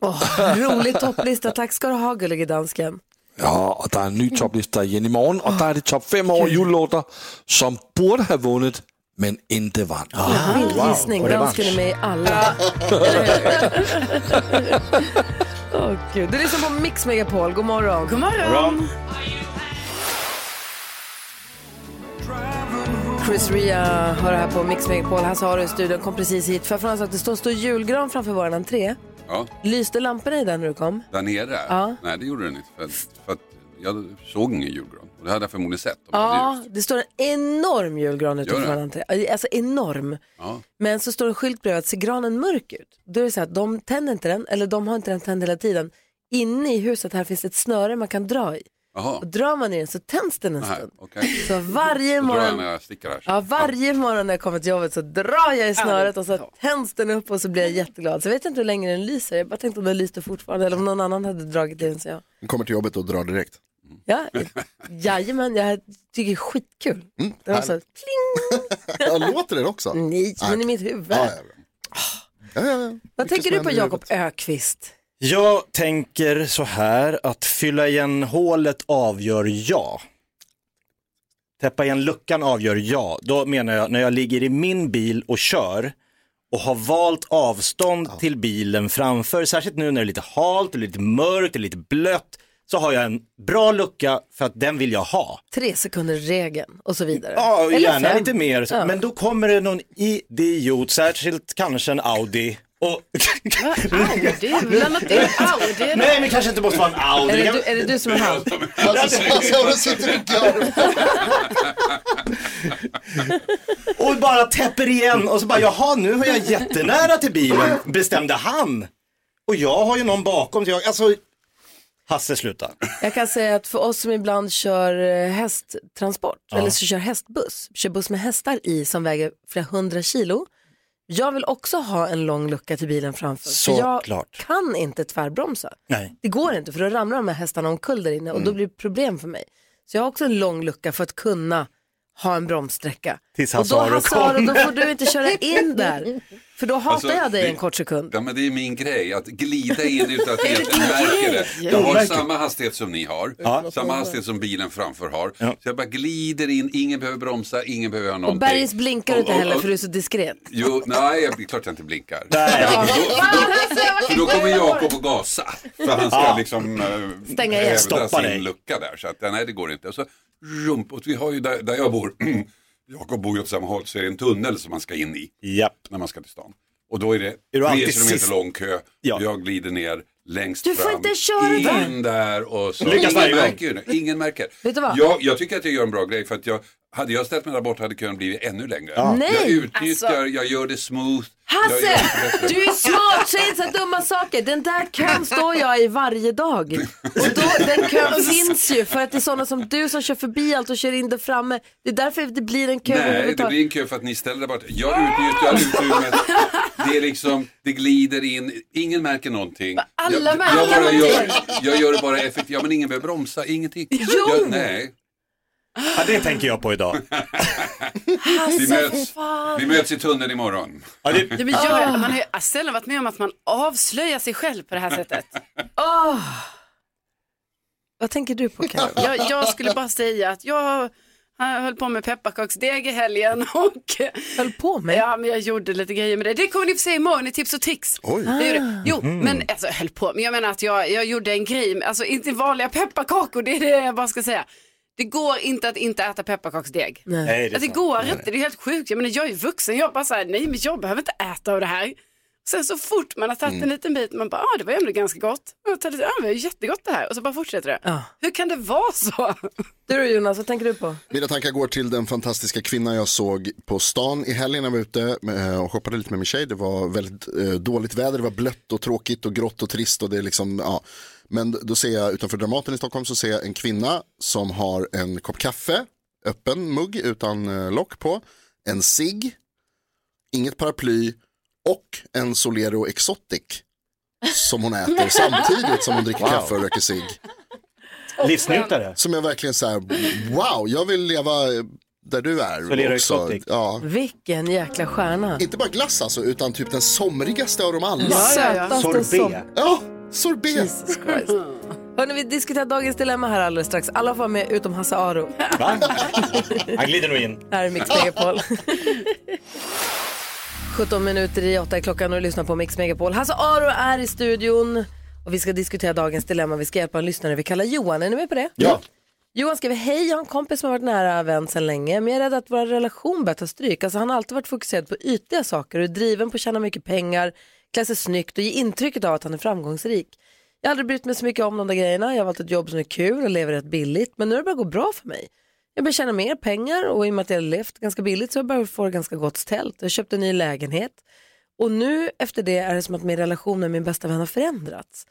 Speaker 2: Åh, rolig topplista. Tack ska du ha gullige dansken.
Speaker 12: Ja, og der er en ny topliste igen i morgen, og der er de top 5 over julelåter, som burde have vundet, men ikke
Speaker 2: Ah,
Speaker 12: vandt.
Speaker 2: Vild gissning. Dansken är med i alla. Åh gud. Du lyssnar på Mix Megapol. God morgon. God
Speaker 13: morgon.
Speaker 2: Chris Ria hör här på Mix Megapol. Hasse Aro i studion kom precis hit. För från att det står en stor julgran framför vår entré.
Speaker 16: Ja,
Speaker 2: Lyste lamporna i den när du kom?
Speaker 16: där nere?
Speaker 2: Ja.
Speaker 16: Nej, det gjorde den inte. För, för att jag såg ingen julgran. Och det hade jag förmodligen sett. om jag hade
Speaker 2: Ja, det står en enorm julgran utanför
Speaker 16: Gör det?
Speaker 2: vår entré. Alltså enorm.
Speaker 16: Ja.
Speaker 2: Men så står det en skylt bredvid att ser granen mörk ut? Då är det så här att de tänder inte den, eller de har inte den tänd hela tiden. Inne i huset här finns ett snöre man kan dra i.
Speaker 16: Jaha,
Speaker 2: Och drar man i den så tänds den en
Speaker 16: Nej,
Speaker 2: stund.
Speaker 16: okej.
Speaker 2: Så varje
Speaker 16: Då drar jag när
Speaker 2: morgon,
Speaker 16: jag sticker här.
Speaker 2: ja, varje morgon när jag kommer till jobbet så drar jag i snöret och så tänds den upp och så blir jag jätteglad. Så jag vet inte hur länge den lyser. Jag bara tänkte om den lyste fortfarande eller om någon annan hade dragit i den. Så jag.
Speaker 3: Den kommer till jobbet och drar direkt.
Speaker 2: Ja, jajamän, jag tycker det är skitkul. Mm, Det var så,
Speaker 3: härligt. Ja, låter det också?
Speaker 2: Mm. Nej, men i mitt huvud.
Speaker 5: Ah.
Speaker 3: Ja, ja, ja. Ja, ja, ja.
Speaker 2: Vad
Speaker 3: Mycket
Speaker 2: tänker du
Speaker 3: som
Speaker 2: på
Speaker 3: händer i
Speaker 2: Jakob Ökvist?
Speaker 5: Jag tänker så här att fylla igen hålet avgör jag. Täppa igen luckan avgör jag. Då menar jag när jag ligger i min bil och kör och har valt avstånd till bilen framför, särskilt nu när det är lite halt, och lite mörkt, och lite blött, så har jag en bra lucka för att den vill jag ha.
Speaker 2: Tre sekunder regeln och så vidare.
Speaker 5: Ja, och
Speaker 2: Eller
Speaker 5: gärna
Speaker 2: fem.
Speaker 5: lite mer.
Speaker 2: Ja.
Speaker 5: Men då kommer det någon idiot, särskilt kanske en Audi. Och...
Speaker 4: Audi? Blandat in Audi? då?
Speaker 5: Nej, men kanske inte måste vara en Audi. Alltså,
Speaker 2: Är det du- är det du som är han?
Speaker 5: och bara täpper igen och så bara, jaha, nu är jag jättenära till bilen, bestämde han. Och jag har ju någon bakom, så jag, alltså, Hasse sluta.
Speaker 2: Jag kan säga att för oss som ibland kör eh, hästtransport,
Speaker 5: Ja.
Speaker 2: eller så kör hästbuss, kör buss med hästar i som väger flera hundra kilo. Jag vill också ha en lång lucka till bilen framför. för jag
Speaker 5: Såklart.
Speaker 2: kan inte tvärbromsa.
Speaker 5: Nej.
Speaker 2: Det går inte för då ramlar de här hästarna omkull där inne och
Speaker 5: Mm.
Speaker 2: då blir det problem för mig. Så jag har också en lång lucka för att kunna ha en bromssträcka.
Speaker 5: Tills
Speaker 2: och
Speaker 5: Hasse
Speaker 2: då
Speaker 5: Aro
Speaker 2: Hasse Aro,
Speaker 5: kommer.
Speaker 2: då får du inte köra in där. För då hatar
Speaker 16: Alltså,
Speaker 2: jag dig
Speaker 16: det-
Speaker 2: en kort sekund.
Speaker 16: Ja, men det är min grej, att glida in utan att
Speaker 2: Är det
Speaker 16: egentligen
Speaker 2: din
Speaker 16: märka
Speaker 2: grej?
Speaker 16: det. Jag har
Speaker 2: Overkligt.
Speaker 16: samma hastighet som ni har,
Speaker 5: Ja.
Speaker 16: samma hastighet som bilen framför har. Så jag bara glider in, ingen behöver bromsa, ingen behöver göra
Speaker 2: Och
Speaker 16: någonting.
Speaker 2: bergis blinkar du inte
Speaker 16: Och- och-
Speaker 2: heller
Speaker 16: och-
Speaker 2: för du är så diskret.
Speaker 16: Jo, nej, det är klart jag inte blinkar.
Speaker 5: Nej.
Speaker 16: För då kommer Jakob och gasa. För han ska
Speaker 5: Ja.
Speaker 16: liksom eh,
Speaker 2: Stänga igen.
Speaker 16: hävda
Speaker 5: Stoppa
Speaker 16: sin
Speaker 5: dig.
Speaker 16: lucka där. Så att, eh, nej, det går inte. Och så rump, och vi har ju där, där jag bor, Jakob bor ju åt samma håll, så är det en tunnel som man ska in i. När man ska till stan. Och då är det
Speaker 5: du
Speaker 16: tre
Speaker 5: alltid
Speaker 16: kilometer
Speaker 5: sist?
Speaker 16: lång kö. Jag glider ner längst
Speaker 2: Du får
Speaker 16: fram.
Speaker 2: inte köra där.
Speaker 16: In där och så.
Speaker 5: Lyckas varje
Speaker 16: ingen
Speaker 5: gång.
Speaker 16: märker ju det. Ingen märker.
Speaker 2: Vet du vad?
Speaker 16: Jag, jag tycker att jag gör en bra grej för att jag, hade jag ställt mig där borta hade kön blivit ännu längre.
Speaker 2: Ja.
Speaker 16: Jag
Speaker 2: Nej. alltså.
Speaker 16: utnyttjar, jag gör det smooth. jag gör
Speaker 2: Hasse,
Speaker 16: det bättre.
Speaker 2: du är smart, säg inte så dumma saker. Den där kön står jag i varje dag. Och då, den kön finns ju för att det är sådana som du som kör förbi allt och kör in där framme. Det är därför det blir en kö
Speaker 16: Nej, det
Speaker 2: överhuvudtaget.
Speaker 16: blir en kö för att ni ställer där borta. Jag utnyttjar utrymmet. Det är liksom, det glider in. Ingen märker någonting.
Speaker 2: alla
Speaker 16: jag,
Speaker 2: märker
Speaker 16: jag, bara gör,
Speaker 2: någonting.
Speaker 16: jag gör det bara effektivt. Ja, men ingen behöver bromsa, ingenting.
Speaker 2: Jo!
Speaker 16: Jag, nej.
Speaker 5: Ja, det tänker jag på idag.
Speaker 2: Alltså,
Speaker 16: Vi
Speaker 4: Hasse, fy
Speaker 16: möts,
Speaker 4: fan.
Speaker 16: vi möts i tunneln imorgon.
Speaker 4: Ja, men gör det. Man har ju sällan varit med om att man avslöjar sig själv på det här sättet.
Speaker 2: Åh. Ah. Vad tänker du på Karin?
Speaker 4: Jag, jag skulle bara säga att jag höll på med pepparkaksdeg i helgen och...
Speaker 2: Höll på med?
Speaker 4: Ja, men jag gjorde lite grejer med det. Det kommer ni få se imorgon i tips och tricks.
Speaker 2: Oj.
Speaker 4: Det gjorde jag. Jo,
Speaker 2: Mhm.
Speaker 4: men alltså höll på. Men jag menar att jag, jag gjorde en grej, med- alltså inte vanliga pepparkakor, det är det jag bara ska säga. Det går inte att inte äta pepparkaksdeg.
Speaker 2: Nej. Nej, det är
Speaker 4: alltså, det
Speaker 2: sant.
Speaker 4: går
Speaker 2: Nej.
Speaker 4: inte, det är helt sjukt. Jag menar jag är vuxen, jag bara säger nej men jag behöver inte äta av det här. Sen så fort man har tagit en
Speaker 2: Mm.
Speaker 4: liten bit, man bara, ah, det var ändå ganska gott. Ja, "Ah, det var jättegott det här. Och så bara fortsätter det.
Speaker 2: Ja.
Speaker 4: Hur kan det vara så?
Speaker 2: Du då Jonas, vad tänker du på?
Speaker 3: Mina tankar går till den fantastiska kvinnan jag såg på stan i helgen när jag var ute eh, och shoppade lite med min tjej. Det var väldigt eh, dåligt väder, det var blött och tråkigt och grått och trist och det är liksom, ja. Men då ser jag utanför Dramaten i Stockholm så ser jag en kvinna som har en kopp kaffe, öppen mugg utan eh, lock på, en cigg, inget paraply och en Solero Exotic som hon äter samtidigt som hon dricker
Speaker 5: Wow.
Speaker 3: kaffe och röker cigg.
Speaker 5: Livsnjutare.
Speaker 3: Som jag verkligen så här, wow, jag vill leva där du är.
Speaker 5: Solera
Speaker 3: också.
Speaker 5: Exotic.
Speaker 3: Ja.
Speaker 2: Vilken jäkla stjärna.
Speaker 3: Inte bara glass alltså, utan typ den somrigaste av dem alla.
Speaker 2: Ja, ja, ja. Sötaste som- Sorbet.
Speaker 3: Ja, sorbet.
Speaker 2: Jesus Christ. Hörni, vi diskuterar dagens dilemma här alldeles strax. Alla får vara med utom Hasse Aro.
Speaker 5: Va? Han glider nog in.
Speaker 2: Här är Mix Megapol. 17 minuter i åtta är klockan och du lyssnar på Mix Megapol. Hasse Aro är i studion och vi ska diskutera dagens dilemma. Vi ska hjälpa en lyssnare vi kallar Johan. Är ni med på det? Ja. Johan skriver, hej, jag har en kompis som har varit nära vän sedan länge, men jag är rädd att vår relation börjar ta stryk. Alltså, han har alltid varit fokuserad på ytliga saker och är driven på att tjäna mycket pengar, klä sig snyggt och ge intrycket av att han är framgångsrik. Jag har aldrig brytt mig så mycket om de där grejerna. Jag har valt ett jobb som är kul och lever rätt billigt, men nu har det börjat gå bra för mig. Jag börjar tjäna mer pengar och i och med att jag har levt ganska billigt så har jag börjat få ganska gott ställt. Jag köpte en ny lägenhet och nu efter det är det som att min relation med min bästa vän har förändrats.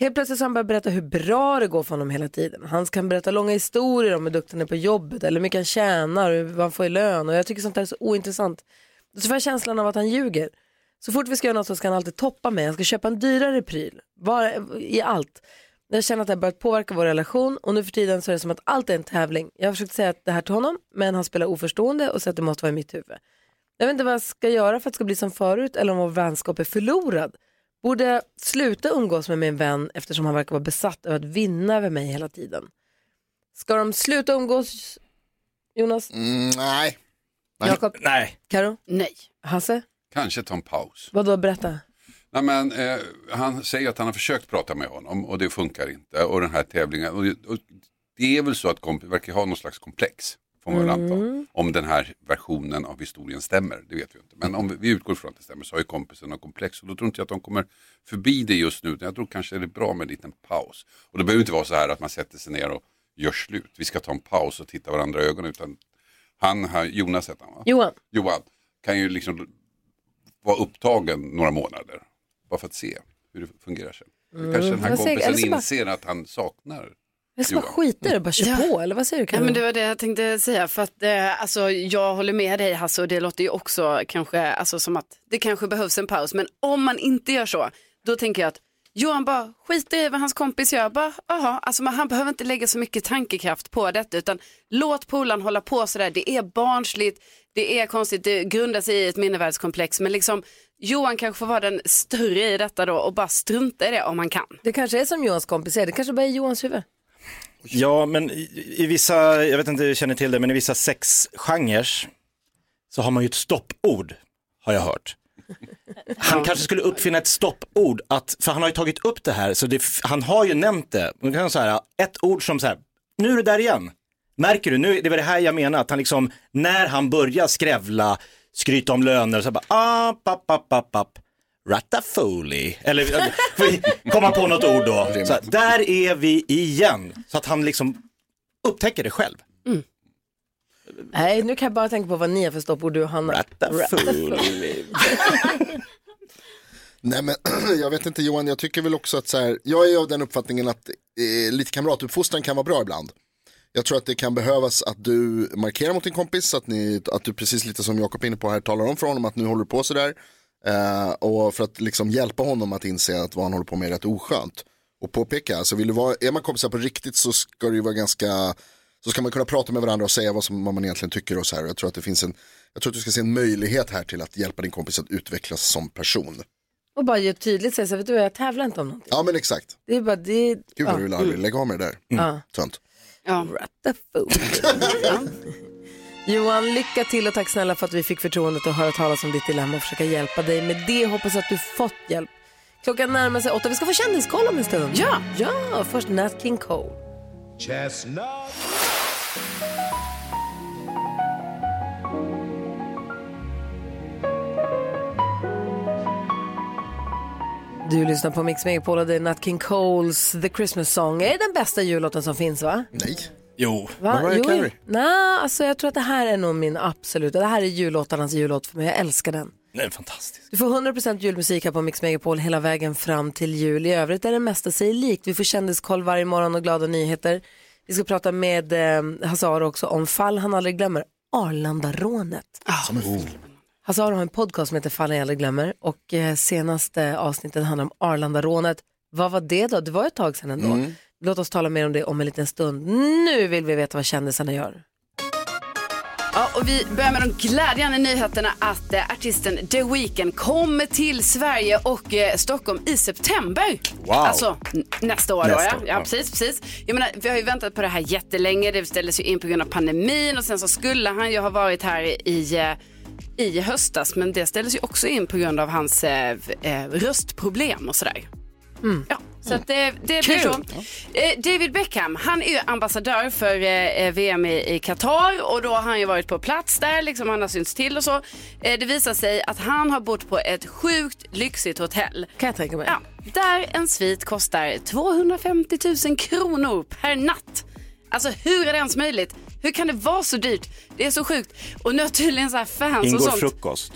Speaker 2: Helt plötsligt så har han börjat berätta hur bra det går för honom hela tiden. Han kan berätta långa historier om hur duktig han är på jobbet eller hur mycket han tjänar och vad han får i lön och jag tycker sånt där är så ointressant. Så får jag känslan av att han ljuger. Så fort vi ska göra något så ska han alltid toppa mig. Han ska köpa en dyrare pryl var, i allt. Jag känner att det har börjat påverka vår relation och nu för tiden så är det som att allt är en tävling. Jag har försökt säga det här till honom men han spelar oförstående och säger att det måste vara i mitt huvud. Jag vet inte vad jag ska göra för att det ska bli som förut eller om vår vänskap är förlorad. borde sluta umgås med min vän eftersom han verkar vara besatt av att vinna över mig hela tiden. Ska de sluta umgås, Jonas?
Speaker 3: nej.
Speaker 2: Jakob?
Speaker 5: Nej.
Speaker 2: Karo?
Speaker 4: Nej.
Speaker 2: Hasse?
Speaker 16: Kanske ta en paus.
Speaker 2: Vadå, berätta.
Speaker 16: Nej, men, eh, han säger att han har försökt prata med honom och det funkar inte. Och den här tävlingen. Och, och det är väl så att kompis verkar ha någon slags komplex. Får man väl anta.
Speaker 13: Mm.
Speaker 16: Om den här versionen av historien stämmer. Det vet vi inte. Men om vi utgår från att det stämmer så har ju kompisen någon komplex. Och då tror inte jag att de kommer förbi det just nu. utan Jag tror kanske det är bra med en liten paus. Och det behöver inte vara så här att man sätter sig ner och gör slut. Vi ska ta en paus och titta varandra i ögonen. Utan han, här, Jonas heter han va?
Speaker 2: Johan?
Speaker 16: Johan kan ju liksom vara upptagen några månader. Bara för att se hur det fungerar sen.
Speaker 2: Mm.
Speaker 16: Kanske den här
Speaker 2: Vad säger-
Speaker 16: kompisen
Speaker 2: eller så bara-
Speaker 16: inser att han saknar
Speaker 2: Jag ska
Speaker 16: Johan.
Speaker 2: bara skita i det och bara kör på, eller vad säger du
Speaker 4: Ja,
Speaker 2: Karo?
Speaker 4: men det var det jag tänkte säga för att eh, alltså, jag håller med dig Hasse och det låter ju också kanske alltså, som att det kanske behövs en paus men om man inte gör så då tänker jag att Johan bara skiter i vad hans kompis gör, bara, aha, alltså, men han behöver inte lägga så mycket tankekraft på detta utan låt polaren hålla på sådär, det är barnsligt, det är konstigt, det grundar sig i ett mindervärdeskomplex men liksom Johan kanske får vara den större i detta då och bara strunta i det om han kan.
Speaker 2: Det kanske är som Johans kompis säger, det kanske bara är Johans huvud.
Speaker 5: Ja, men i, i vissa, jag vet inte om du känner till det, men i vissa sexgenrer så har man ju ett stoppord, har jag hört. Han kanske skulle uppfinna ett stoppord, att, för han har ju tagit upp det här, så det, han har ju nämnt det. Man kan säga ett ord som så här, nu är det där igen. Märker du, nu, det var det här jag menar, att han liksom, när han börjar skrävla, skryta om löner, så bara, ah, app, app, app, app, app. Rattafoli, eller får vi komma på något ord då. Så här, där är vi igen, så att han liksom upptäcker det själv.
Speaker 2: Nej, nu kan jag bara tänka på vad ni har för stoppord, du och Hanna.
Speaker 5: Rattafoli.
Speaker 3: Nej men jag vet inte Johan, jag tycker väl också att så här, jag är av den uppfattningen att eh, lite kamratuppfostran kan vara bra ibland. Jag tror att det kan behövas att du markerar mot din kompis, att, ni, att du precis lite som Jakob är inne på här talar om för honom att nu håller du på sådär. Eh, och för att liksom hjälpa honom att inse att vad han håller på med är rätt oskönt. Och påpeka, alltså vill du vara, är man kompisar på riktigt så ska det ju vara ganska, så ska man kunna prata med varandra och säga vad, som, vad man egentligen tycker och så här. Och Jag tror att det finns en, jag tror att du ska se en möjlighet här till att hjälpa din kompis att utvecklas som person.
Speaker 2: Och bara ju tydligt säga så här, vet du vad, jag tävlar inte om någonting.
Speaker 3: Ja men exakt.
Speaker 2: Det är bara, det är...
Speaker 3: Gud vad du vill aldrig lägga av med det där.
Speaker 2: Mm. Ja.
Speaker 3: Tönt.
Speaker 4: Ja.
Speaker 2: Johan, lycka till och tack snälla för att vi fick förtroendet att höra talas om ditt dilemma och försöka hjälpa dig med det. Hoppas att du fått hjälp. Klockan närmar sig åtta. Vi ska få kändiskoll om en stund. Ja! Ja, först Nat King Cole.
Speaker 13: Chestnut.
Speaker 2: Du lyssnar på Mix Megapol och det är Nat King Coles The Christmas Song. Är det den bästa jullåten som finns va?
Speaker 3: Nej.
Speaker 5: Jo.
Speaker 2: Va? Jo, Nej, alltså jag tror att det här är nog min absoluta. Det här är jullåtarnas jullåt för mig. Jag älskar den.
Speaker 5: Den är fantastisk.
Speaker 2: Du får 100% julmusik här på Mix Megapol hela vägen fram till jul. I övrigt är det mesta sig likt. Vi får kändiskoll varje morgon och glada nyheter. Vi ska prata med eh, Hasse Aro också om fall han aldrig glömmer. Arlandarånet.
Speaker 3: Som en film.
Speaker 2: Hasse Aro har en podcast som heter Fallen jag aldrig glömmer och eh, senaste avsnittet handlar om Arlandarånet. Vad var det då? Det var ett tag sedan ändå.
Speaker 3: Mm.
Speaker 2: Låt oss tala mer om det om en liten stund. Nu vill vi veta vad kändisarna gör.
Speaker 4: Ja, och vi börjar med de glädjande nyheterna att eh, artisten The Weeknd kommer till Sverige och eh, Stockholm i september.
Speaker 13: Wow.
Speaker 4: Alltså n- nästa år.
Speaker 13: Nästa
Speaker 4: då,
Speaker 13: år,
Speaker 4: ja. ja,
Speaker 13: ja.
Speaker 4: precis, precis. Jag menar, vi har ju väntat på det här jättelänge. Det ställdes ju in på grund av pandemin och sen så skulle han ju ha varit här i eh, i höstas, men det ställdes ju också in på grund av hans eh, v- eh, röstproblem och sådär. Ja, så att det, det blir
Speaker 13: Kul.
Speaker 4: så. Eh, David Beckham, han är ju ambassadör för eh, eh, VM i i Qatar och då har han ju varit på plats där, liksom han har synts till och så. Eh, det visar sig att han har bott på ett sjukt lyxigt hotell.
Speaker 2: Kan jag tänka mig.
Speaker 4: Ja, där en svit kostar 250 000 kronor per natt. Alltså hur är det ens möjligt? Hur kan det vara så dyrt? Det är så sjukt. Och nu har tydligen så här fans
Speaker 5: Ingår
Speaker 4: och sånt.
Speaker 5: frukost.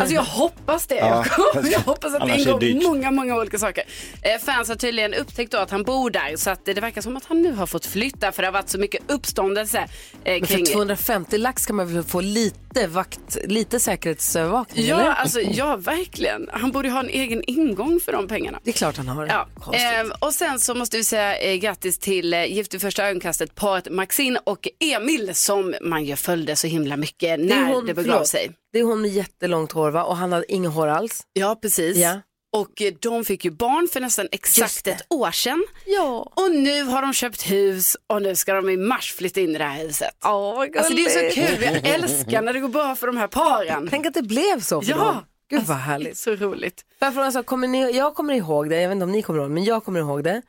Speaker 4: Alltså jag hoppas det.
Speaker 5: Ja.
Speaker 4: Jakob. Jag hoppas att det
Speaker 5: Annars är det dyrt.
Speaker 4: ingår många, många olika saker. Eh, Fans har tydligen upptäckt då att han bor där så att eh, det verkar som att han nu har fått flytta för det har varit så mycket uppståndelse eh,
Speaker 2: Men för
Speaker 4: kring
Speaker 2: 250 lax kan man väl få lite, vakt, lite säkerhetsövervakning?
Speaker 4: Ja,
Speaker 2: eller?
Speaker 4: alltså, ja, verkligen. Han borde ju ha en egen ingång för de pengarna.
Speaker 2: Det är klart han har.
Speaker 4: Ja. Ehm, och sen så måste vi säga eh, grattis till eh, Gift i första ögonkastet paret Maxine och Emil som man ju följde så himla mycket när det, begav
Speaker 2: förlåt,
Speaker 4: sig.
Speaker 2: Det är hon med jättelångt hår va? Och han hade inget hår alls?
Speaker 4: Ja, precis.
Speaker 2: Ja.
Speaker 4: Och eh, de fick ju barn för nästan exakt ett år sedan. Ja. Och nu har de köpt hus och nu ska de i mars flytta in i det här huset.
Speaker 8: Åh, vad
Speaker 4: alltså det är så kul,
Speaker 2: gulligt.
Speaker 4: jag älskar när det går bra för de här paren.
Speaker 2: Tänk att det blev så för
Speaker 4: Ja.
Speaker 2: dem. Gud vad härligt.
Speaker 4: Så roligt.
Speaker 2: Får jag fråga, så kommer ni, jag kommer ihåg det, jag vet inte om ni kommer ihåg men jag kommer ihåg det.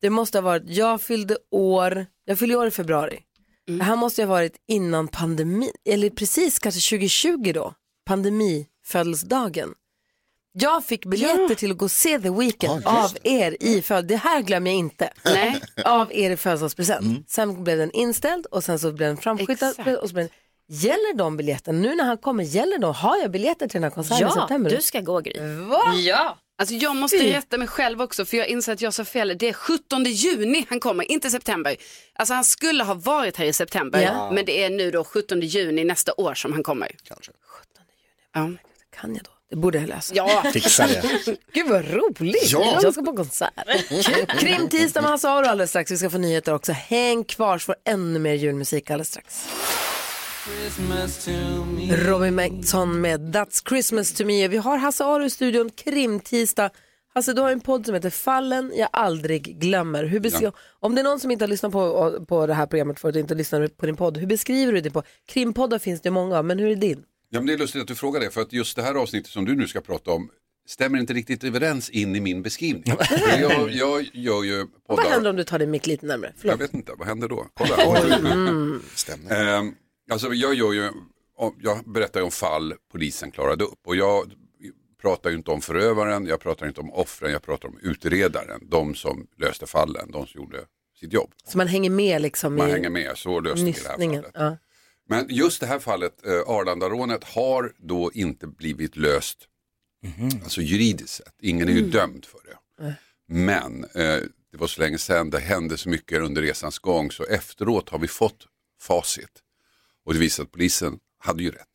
Speaker 2: Det måste ha varit, jag fyllde år, jag fyllde år i februari.
Speaker 4: Mm.
Speaker 2: Det här måste ju ha varit innan pandemin, eller precis kanske 2020 då, pandemifödelsedagen. Jag fick biljetter till att gå och se The Weeknd
Speaker 4: Ja,
Speaker 2: av
Speaker 4: just
Speaker 2: er i födelsedag, det här glömmer jag inte,
Speaker 4: Nej. Mm.
Speaker 2: av er i födelsedagspresent. Sen blev den inställd och sen så blev den framskjutad. Och så blev den, gäller de biljetten nu när han kommer, gäller de, har jag biljetter till den här konserten i september?
Speaker 8: gå Gry.
Speaker 2: Va?
Speaker 4: Ja. Alltså jag måste
Speaker 2: Fy.
Speaker 4: rätta mig själv också för jag inser att jag sa fel. Det är 17 juni han kommer, inte september. Alltså han skulle ha varit här i september
Speaker 2: Ja.
Speaker 4: men det är nu då 17 juni nästa år som han kommer.
Speaker 3: Kanske.
Speaker 4: 17 juni,
Speaker 2: ja. kan jag då? Det borde jag lösa.
Speaker 4: Ja.
Speaker 3: Fixa det.
Speaker 2: Gud vad roligt.
Speaker 3: Ja.
Speaker 2: Jag ska på en konsert. Krimtisdag med Hasse Aro alldeles strax. Vi ska få nyheter också. Häng kvar så får ännu mer julmusik alldeles strax. Robin Bengtsson med That's Christmas to me. Vi har Hasse Aro i studion krimtisdag. Hasse, du har en podd som heter Fallen jag aldrig glömmer. Hur bes-
Speaker 13: Ja.
Speaker 2: Om det är någon som inte har lyssnat på, på det här programmet förut och inte lyssnar på din podd, hur beskriver du din podd? Krimpoddar finns det många av, men hur är din?
Speaker 16: Ja, men det är lustigt att du frågar det, för att just det här avsnittet som du nu ska prata om stämmer inte riktigt överens in i min beskrivning. För jag, jag gör ju
Speaker 2: Vad
Speaker 16: poddar.
Speaker 2: händer om du tar din mick lite närmare? Förlåt. Mm.
Speaker 16: Jag vet inte, vad händer då? Kolla. Ehm, alltså jag gör ju, om- jag berättar ju om fall polisen klarade upp och jag pratar ju inte om förövaren, jag pratar inte om offren, jag pratar om utredaren, de som löste fallen, de som gjorde sitt jobb.
Speaker 2: Så man hänger med liksom
Speaker 16: Man
Speaker 2: i
Speaker 16: hänger med, så löste vi det här fallet. Typ
Speaker 2: nystningen. Ja.
Speaker 16: Men just det här fallet, eh, Arlandarånet, har då inte blivit löst, alltså juridiskt sett. Ingen är ju
Speaker 13: Mm.
Speaker 16: dömd för det.
Speaker 13: Nej.
Speaker 16: Men eh, det var så länge sedan, det hände så mycket under resans gång, så efteråt har vi fått facit. Och det visar att polisen hade ju rätt.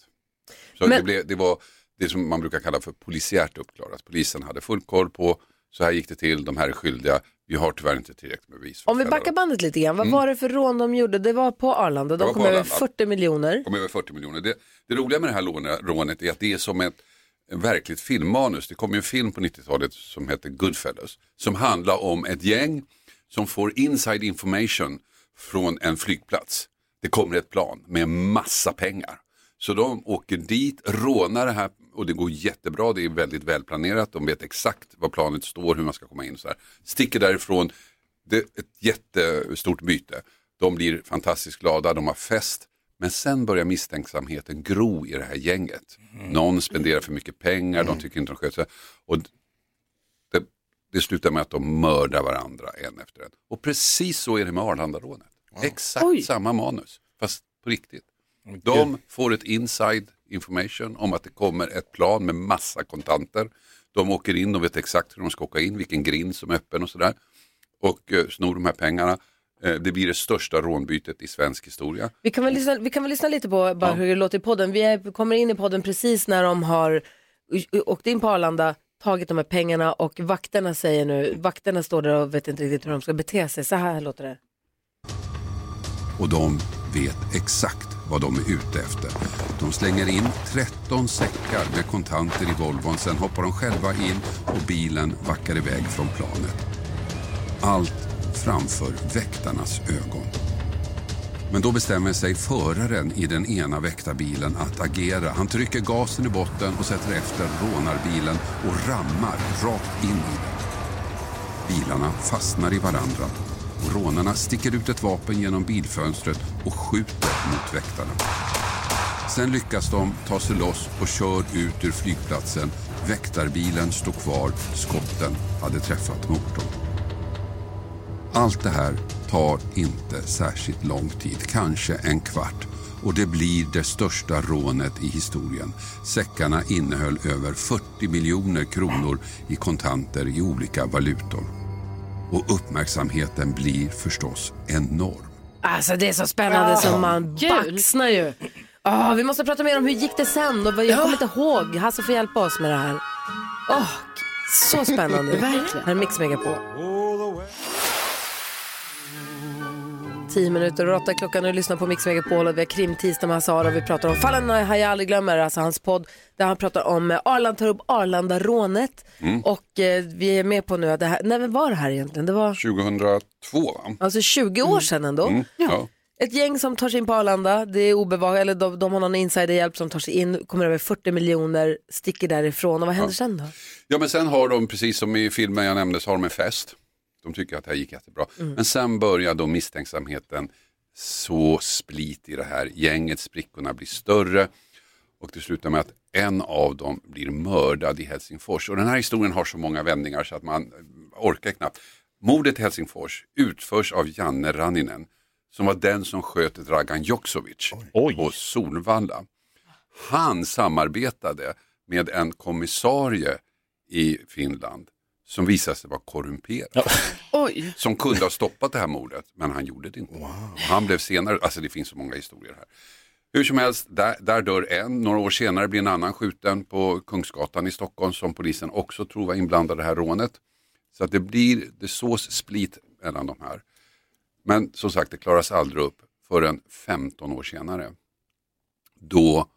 Speaker 16: Så
Speaker 2: Men-
Speaker 16: det, blev, det var det som man brukar kalla för polisiärt uppklarat. Polisen hade full koll på, så här gick det till, de här är skyldiga, vi har tyvärr inte tillräckligt med bevis. för
Speaker 2: Om vi
Speaker 16: att fälla
Speaker 2: backar
Speaker 16: dem.
Speaker 2: bandet lite grann, vad
Speaker 16: Mm.
Speaker 2: var det för rån de gjorde? Det var på Arlanda,
Speaker 16: Det
Speaker 2: de
Speaker 16: var
Speaker 2: kom
Speaker 16: på
Speaker 2: över
Speaker 16: Arlanda.
Speaker 2: 40 miljoner.
Speaker 16: om över 40 miljoner. Det, det roliga med det här låne- rånet är att det är som ett en verkligt filmmanus. Det kom ju en film på 90-talet som hette Goodfellas som handlar om ett gäng som får inside information från en flygplats. Det kommer ett plan med massa pengar. Så de åker dit, rånar det här och det går jättebra. Det är väldigt välplanerat. De vet exakt var planet står, hur man ska komma in. Och så här. Sticker därifrån, det är ett jättestort byte. De blir fantastiskt glada, de har fest. Men sen börjar misstänksamheten gro i det här gänget. Någon spenderar för mycket pengar, de tycker inte de sköter sig. Och det, det slutar med att de mördar varandra en efter en. Och precis så är det med Arlandarånet. Exakt samma manus, fast på riktigt. De får ett inside information om att det kommer ett plan med massa kontanter. De åker in, de vet exakt hur de ska åka in, vilken grind som är öppen och sådär och eh, snor de här pengarna. Eh, det blir det största rånbytet i svensk historia.
Speaker 2: Vi kan, väl lyssna, vi kan väl lyssna lite på bara hur det låter i podden. Vi är, kommer in i podden precis när de har å- åkt in på Arlanda, tagit de här pengarna och vakterna säger nu, vakterna står där och vet inte riktigt hur de ska bete sig. Så här låter det.
Speaker 16: Och de vet exakt vad de är ute efter. De slänger in 13 säckar med kontanter i Volvon, sen hoppar de själva in och bilen vackar iväg från planet. Allt framför väktarnas ögon. Men då bestämmer sig föraren i den ena väktarbilen att agera. Han trycker gasen i botten och sätter efter rånarbilen och rammar rakt in i den. Bilarna fastnar i varandra och rånarna sticker ut ett vapen genom bilfönstret och skjuter mot väktarna. Sen lyckas de ta sig loss och kör ut ur flygplatsen. Väktarbilen står kvar. Skotten hade träffat motorn. Allt det här tar inte särskilt lång tid, kanske en kvart. Och det blir det största rånet i historien. Säckarna innehöll över 40 miljoner kronor i kontanter i olika valutor. Och uppmärksamheten blir förstås enorm.
Speaker 2: Alltså det är så spännande
Speaker 13: Ja.
Speaker 2: som man baxnar ju. Ah, vi måste prata mer om hur gick det sen och vad, jag kommer inte ihåg. Hasse får hjälpa oss med det här. Åh, så spännande.
Speaker 13: Verkligen.
Speaker 2: Här är Mix Megapol. tio minuter och åtta klockan och lyssnar på Mix Megapol och vi har krimtisdag med Hasse Aro. Vi pratar om fallen och jag aldrig glömmer, alltså hans podd där han pratar om eh, Arland tar upp Arlanda-rånet
Speaker 16: Mm.
Speaker 2: och eh, vi är med på nu att det här, när var det här egentligen? Det var
Speaker 16: 2002 va?
Speaker 2: alltså 20 år sedan ändå.
Speaker 16: Mm, ja.
Speaker 2: Ett gäng som tar sig in på Arlanda, det är obevakat, eller de, de har någon insiderhjälp som tar sig in, kommer över 40 miljoner, sticker därifrån och vad händer sen då?
Speaker 16: ja, men sen har de, precis som i filmen jag nämnde, så har de en fest. De tycker att det här gick jättebra.
Speaker 2: Mm.
Speaker 16: Men sen börjar då misstänksamheten så split i det här gänget, sprickorna blir större och det slutar med att en av dem blir mördad i Helsingfors. Och den här historien har så många vändningar så att man eh, orkar knappt. Mordet i Helsingfors utförs av Janne Ranninen som var den som sköt Dragan Joksovic på Solvalla. Han samarbetade med en kommissarie i Finland som visade sig vara korrumperad.
Speaker 4: Oj.
Speaker 16: Som kunde ha stoppat det här mordet, men han gjorde det inte. Och Han blev senare, alltså det finns så många historier här. Hur som helst, där, där dör en. Några år senare blir en annan skjuten på Kungsgatan i Stockholm som polisen också tror var inblandad i det här rånet. Så att det blir, det sås split mellan de här. Men som sagt, det klaras aldrig upp förrän 15 år senare. Då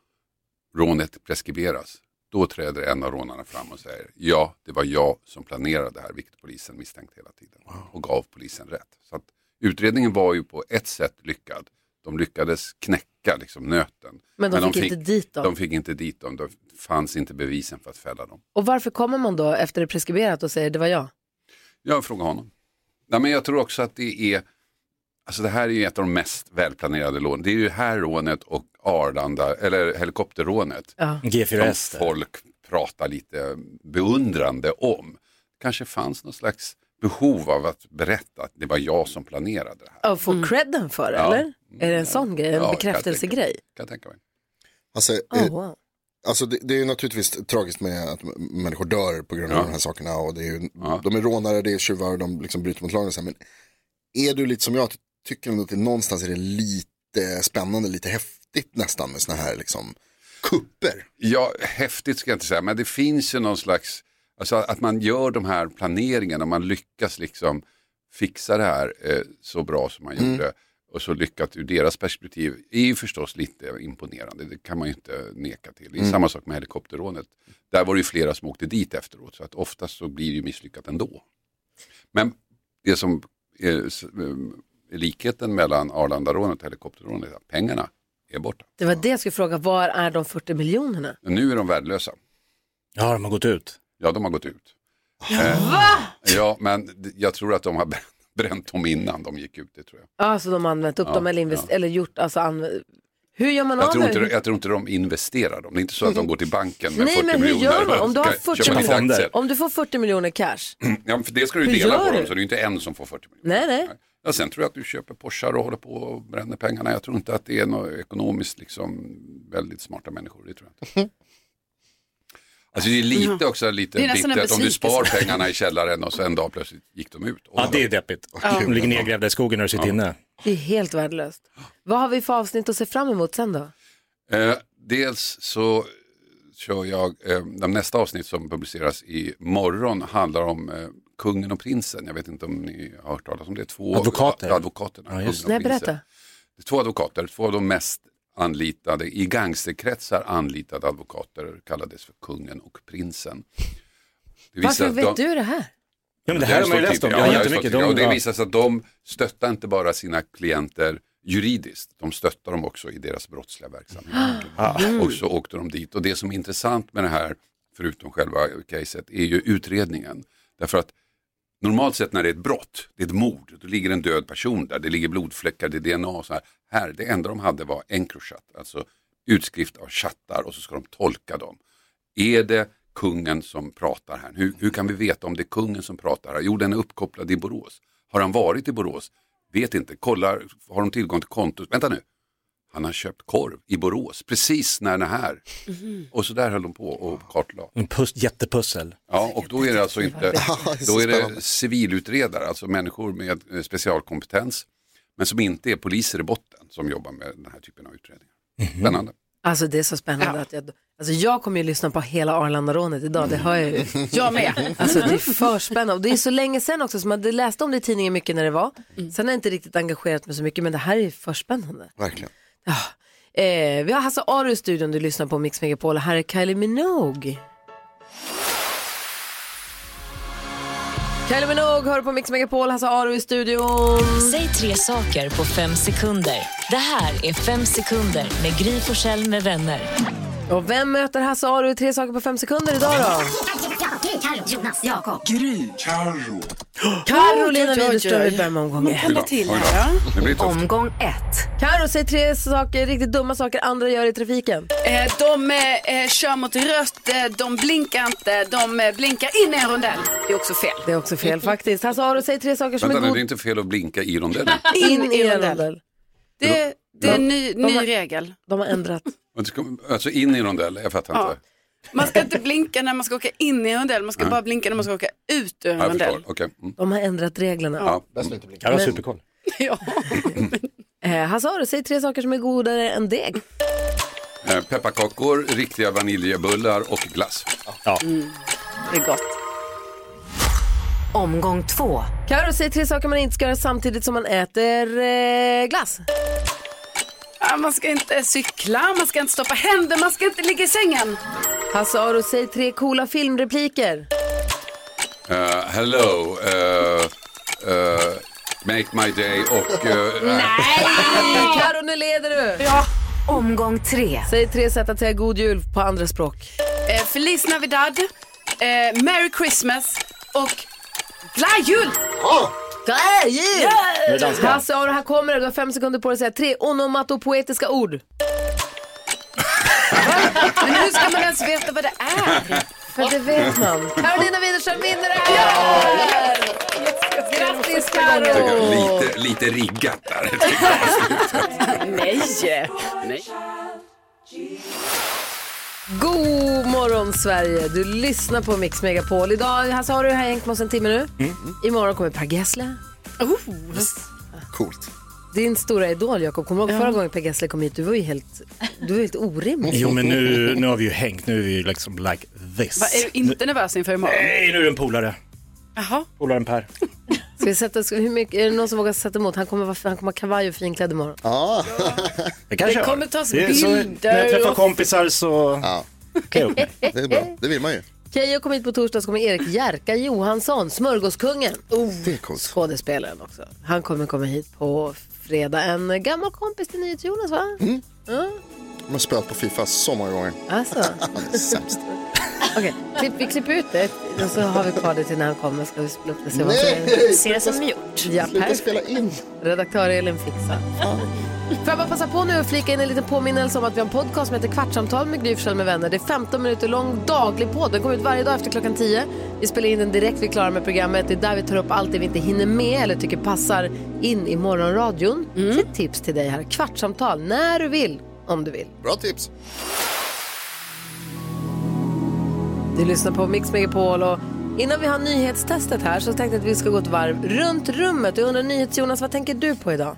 Speaker 16: rånet preskriberas. Då träder en av rånarna fram och säger ja, det var jag som planerade det här, vilket polisen misstänkte hela tiden och gav polisen rätt. Så att utredningen var ju på ett sätt lyckad. De lyckades knäcka liksom, nöten.
Speaker 2: Men de fick inte dit dem.
Speaker 16: De fick inte dit dem. Det fanns inte bevisen för att fälla dem.
Speaker 2: Och varför kommer man då efter det är preskriberat och säger det var jag?
Speaker 16: Jag frågar honom. Nej, men jag tror också att det är, alltså det här är ju ett av de mest välplanerade lånen. Det är ju det här rånet och Arlanda, eller helikopterrånet.
Speaker 2: Ja.
Speaker 5: G4S
Speaker 16: Som folk pratar lite beundrande om. Kanske fanns någon slags behov av att berätta att det var jag som planerade det här.
Speaker 2: Och får credden för det
Speaker 16: Mm. Ja.
Speaker 2: eller? Är det en sån grej, en
Speaker 16: Ja,
Speaker 2: bekräftelsegrej?
Speaker 16: Kan jag tänka mig.
Speaker 3: Alltså,
Speaker 2: Oh,
Speaker 3: eh,
Speaker 2: wow.
Speaker 3: Alltså det, det är ju naturligtvis tragiskt med att m- människor dör på grund av
Speaker 16: Ja.
Speaker 3: de här sakerna. Och det är ju, De är rånare, det är tjuvar och de liksom bryter mot lagen. och så här. Men är du lite som jag, ty- tycker ändå att det någonstans är det lite spännande, lite häftigt nästan med såna här liksom.
Speaker 16: Ja, häftigt ska jag inte säga, men det finns ju någon slags, alltså att man gör de här planeringarna, man lyckas liksom fixa det här eh, så bra som man
Speaker 3: Mm.
Speaker 16: gjorde och så lyckat ur deras perspektiv är ju förstås lite imponerande, det kan man ju inte neka till. Det är
Speaker 3: Mm.
Speaker 16: samma sak med helikopterrånet, där var det ju flera som åkte dit efteråt, så att oftast så blir det ju misslyckat ändå. Men det som är s- eh, likheten mellan Arlandarånet och helikopterrånet, är att pengarna är borta.
Speaker 2: Det var det jag skulle fråga, var är de 40 miljonerna?
Speaker 16: Men Nu är de värdelösa.
Speaker 5: Ja, de har gått ut.
Speaker 16: Ja, de har gått ut. Eh, ja, men d- jag tror att de har br- bränt dem innan de gick ut, det tror jag.
Speaker 2: Ja, Alltså de har använt upp
Speaker 16: Ja,
Speaker 2: dem eller, invest- eller gjort, alltså anv- hur gör man
Speaker 16: Jag
Speaker 2: av
Speaker 16: tror,
Speaker 2: med
Speaker 16: inte,
Speaker 2: det?
Speaker 16: jag tror inte de investerar dem, det är inte så att de går till banken med
Speaker 2: Mm. Nej
Speaker 16: 40
Speaker 2: men hur
Speaker 16: miljoner.
Speaker 2: gör man om du har
Speaker 16: Ska-
Speaker 2: 40
Speaker 16: köpa lite
Speaker 2: miljoner?
Speaker 16: aktier.
Speaker 2: Om du får 40 miljoner cash?
Speaker 16: Ja, men för det ska du ju
Speaker 2: Hur
Speaker 16: dela
Speaker 2: gör
Speaker 16: på dem,
Speaker 2: du?
Speaker 16: så det är ju inte en som får 40 miljoner.
Speaker 2: Nej nej.
Speaker 16: Ja, sen tror jag att du köper Porschar och håller på och bränner pengarna. Jag tror inte att det är något ekonomiskt liksom, väldigt smarta människor, det tror jag inte. Alltså det är lite också lite
Speaker 4: Det är nästan en
Speaker 16: bittert om du spar
Speaker 4: besvikelse.
Speaker 16: pengarna i källaren och så en dag plötsligt gick de ut.
Speaker 5: Ja, det är deppigt.
Speaker 2: Ja.
Speaker 5: De ligger nedgrävda i skogen när du sitter inne.
Speaker 2: Det är helt värdelöst. Vad har vi för avsnitt att se fram emot sen då?
Speaker 16: Eh, dels så kör jag, eh, de nästa avsnitt som publiceras i morgon handlar om eh, kungen och prinsen. Jag vet inte om ni har hört talas om det. Två
Speaker 5: Advokater.
Speaker 16: advokaterna.
Speaker 5: Ja, just det.
Speaker 16: kungen
Speaker 2: Nej
Speaker 16: och prinsen.
Speaker 2: berätta.
Speaker 16: Det är två advokater, två av de mest anlitade, i gangsterkretsar anlitade advokater kallades för kungen och prinsen. Det visar
Speaker 2: Varför
Speaker 16: att
Speaker 2: vet
Speaker 16: de-
Speaker 2: du det här?
Speaker 5: Ja, men det här har man ju
Speaker 16: står
Speaker 5: läst om.
Speaker 16: tidigare.
Speaker 5: Ja,
Speaker 16: Ja, det har
Speaker 5: jättemycket.
Speaker 16: stått tidigare.
Speaker 5: De-
Speaker 16: och det
Speaker 5: ja.
Speaker 16: visar sig att de stöttar inte bara sina klienter juridiskt, de stöttar dem också i deras brottsliga verksamhet.
Speaker 5: Ah.
Speaker 16: Och så åkte de dit. Och det som är intressant med det här, förutom själva caset, är ju utredningen. Därför att normalt sett när det är ett brott, det är ett mord, då ligger en död person där, det ligger blodfläckar, det är DNA och så här. Här, det enda de hade var Encrochat, alltså utskrift av chattar och så ska de tolka dem. Är det kungen som pratar här? Hur, hur kan vi veta om det är kungen som pratar här? Jo, den är uppkopplad i Borås. Har han varit i Borås? Vet inte. Kollar, har de tillgång till kontot? Vänta nu. Han har köpt korv i Borås precis när den är här.
Speaker 12: Mm-hmm.
Speaker 16: Och så där höll de på och kartlade.
Speaker 5: En pus- jättepussel.
Speaker 16: Ja, och då är det alltså inte,
Speaker 5: är så
Speaker 16: då är
Speaker 5: spännande.
Speaker 16: det civilutredare, alltså människor med eh,
Speaker 5: Mhm.
Speaker 16: specialkompetens, men som inte är poliser i botten som jobbar med den här typen av utredningar. Spännande.
Speaker 2: Alltså det är så spännande. Att jag, alltså jag kommer ju lyssna på hela Arlandarånet idag, det hör jag ju.
Speaker 4: Mm. Jag med.
Speaker 2: Alltså det är för spännande. Och det är så länge sedan också, så man det läste om det i tidningen mycket när det var.
Speaker 4: Mm.
Speaker 2: Sen har jag inte riktigt engagerat mig så mycket, men det här är ju för spännande.
Speaker 3: Verkligen.
Speaker 2: Eh, vi har Hasse Aro i studion, du lyssnar på Mix Megapol. Här är Kylie Minogue. Kylie Minogue hör på Mix Megapol, Hasse Aro i studion.
Speaker 6: Säg tre saker på fem sekunder. Det här är fem sekunder med Gry Forssell med vänner.
Speaker 2: Och vem möter Hasse Aro i tre saker på fem sekunder idag då?
Speaker 13: Jonas, Jakob. Gry. Carro.
Speaker 2: Carolina Widerström, vi börjar med omgång ett.
Speaker 13: Oj då, till oj då. här, ja. Det blir tufft.
Speaker 2: Omgång ett. Carro, säg tre saker, riktigt dumma saker andra gör i trafiken.
Speaker 4: Eh, de eh, eh, kör mot rött, eh, de blinkar inte, de eh, blinkar in i en rondell. Det är också fel.
Speaker 2: Det är också fel faktiskt. Hasse Aro, säg tre saker som
Speaker 16: Vänta
Speaker 2: är
Speaker 16: nu, det är
Speaker 2: god...
Speaker 16: inte fel att blinka i rondellen.
Speaker 2: In i en rondell.
Speaker 4: Det, det är en ny,
Speaker 2: De
Speaker 4: ny
Speaker 2: har-
Speaker 4: regel.
Speaker 2: De har ändrat.
Speaker 16: Och det ska- Alltså in i en rondell, jag fattar
Speaker 4: Ja.
Speaker 16: inte.
Speaker 4: Man ska inte blinka när man ska åka in i en rondell, man ska
Speaker 16: Nej.
Speaker 4: bara blinka när man ska åka ut ur en
Speaker 16: Ja, jag
Speaker 4: rondell.
Speaker 16: förstår, okej. Mm.
Speaker 2: De har ändrat reglerna.
Speaker 16: Ja.
Speaker 5: Carro har
Speaker 2: Men-
Speaker 5: superkoll.
Speaker 2: Eh, Hasse Aro, säg tre saker som är godare än deg.
Speaker 16: Eh, Pepparkakor, riktiga vaniljebullar och glass.
Speaker 5: Ja.
Speaker 4: Det är gott.
Speaker 2: Omgång två. Karo säg tre saker man inte ska göra samtidigt som man äter eh, glass.
Speaker 4: Ja, man ska inte cykla, man ska inte stoppa händer, man ska inte ligga i sängen.
Speaker 2: Hasse Aro, säg tre coola filmrepliker.
Speaker 16: Eh, hello, eh, eh, make my day och... eh,
Speaker 2: Karo, nu leder du. Ja. Omgång tre. Säg tre sätt att säga god jul på andra språk.
Speaker 4: Eh, Feliz Navidad, eh, Merry Christmas och Glad Jul!
Speaker 2: Glad Jul!
Speaker 4: Nu är det dansband.
Speaker 2: Hasse Aro, här kommer det. Du har fem sekunder på dig att säga tre onomatopoetiska ord.
Speaker 4: Men hur ska man ens veta vad det är?
Speaker 2: För det vet man. Karolina Widerström vinner det här! Grattis
Speaker 16: Jag tycker det
Speaker 2: Karo!
Speaker 16: är lite, lite riggat där.
Speaker 2: Nej.
Speaker 4: Nej.
Speaker 2: God morgon Sverige! Du lyssnar på Mix Megapol. Idag Hasse Aro har hängt med oss en timme
Speaker 5: Mm,
Speaker 2: nu. Imorgon kommer Per Gessle. Oh,
Speaker 3: Coolt.
Speaker 2: Din stora idol Jakob, kommer du ihåg förra gången Per Gessle kom hit? Du var ju helt, du var helt orimlig.
Speaker 5: Jo men nu, nu har vi ju hängt, nu är vi ju liksom like this.
Speaker 4: Va, är du inte nervös inför imorgon?
Speaker 5: Nej, nu är det en polare.
Speaker 4: Jaha.
Speaker 5: Polaren Per.
Speaker 2: Ska vi sätta, ska, hur mycket, är det någon som vågar sätta emot? Han kommer, vara, han kommer ha kavaj och finklädd imorgon.
Speaker 3: Ja.
Speaker 5: Det kanske
Speaker 2: Det
Speaker 5: jag
Speaker 2: kommer
Speaker 5: har.
Speaker 2: tas
Speaker 5: Det är så-
Speaker 2: bilder
Speaker 5: När jag träffar
Speaker 2: och-
Speaker 5: kompisar så...
Speaker 3: Ja.
Speaker 5: Okej, upp mig.
Speaker 3: Det är bra, det vill man ju.
Speaker 2: Keyyo kom hit på torsdag så kommer Erik Jerka Johansson, smörgåskungen.
Speaker 3: Oh,
Speaker 2: Skådespelaren också. Han kommer komma hit på fredag. En gammal kompis till NyhetsJonas va? Mm. Ja,
Speaker 3: De har spöat på Fifa så många gånger.
Speaker 2: alltså.
Speaker 3: Det är sämst.
Speaker 2: Okej, klipp, vi klipper ut det och så har vi kvar det till när han kommer. Ska vi spela upp det? se vad
Speaker 3: Nej!
Speaker 2: som är-
Speaker 3: Ser det som
Speaker 2: gjort. Ja,
Speaker 3: Sluta
Speaker 2: Per.
Speaker 3: spela in.
Speaker 2: Redaktör Elin fixar. Får jag bara passa på nu och flika in en liten påminnelse om att vi har en podcast som heter Kvartsamtal med Gry Forssell med vänner. Det är 15 minuter lång daglig podd. Den kommer ut varje dag efter klockan 10. Vi spelar in den direkt vi är klara med programmet. Det är där vi tar upp allt det vi inte hinner med eller tycker passar in i morgonradion.
Speaker 3: Mm.
Speaker 2: Så ett tips till dig här. Kvartsamtal när du vill, om du vill.
Speaker 3: Bra tips.
Speaker 2: Du lyssnar på Mix Megapol och innan vi har nyhetstestet här så tänkte jag att vi ska gå ett varv runt rummet. Jag undrar NyhetsJonas, vad tänker du på idag?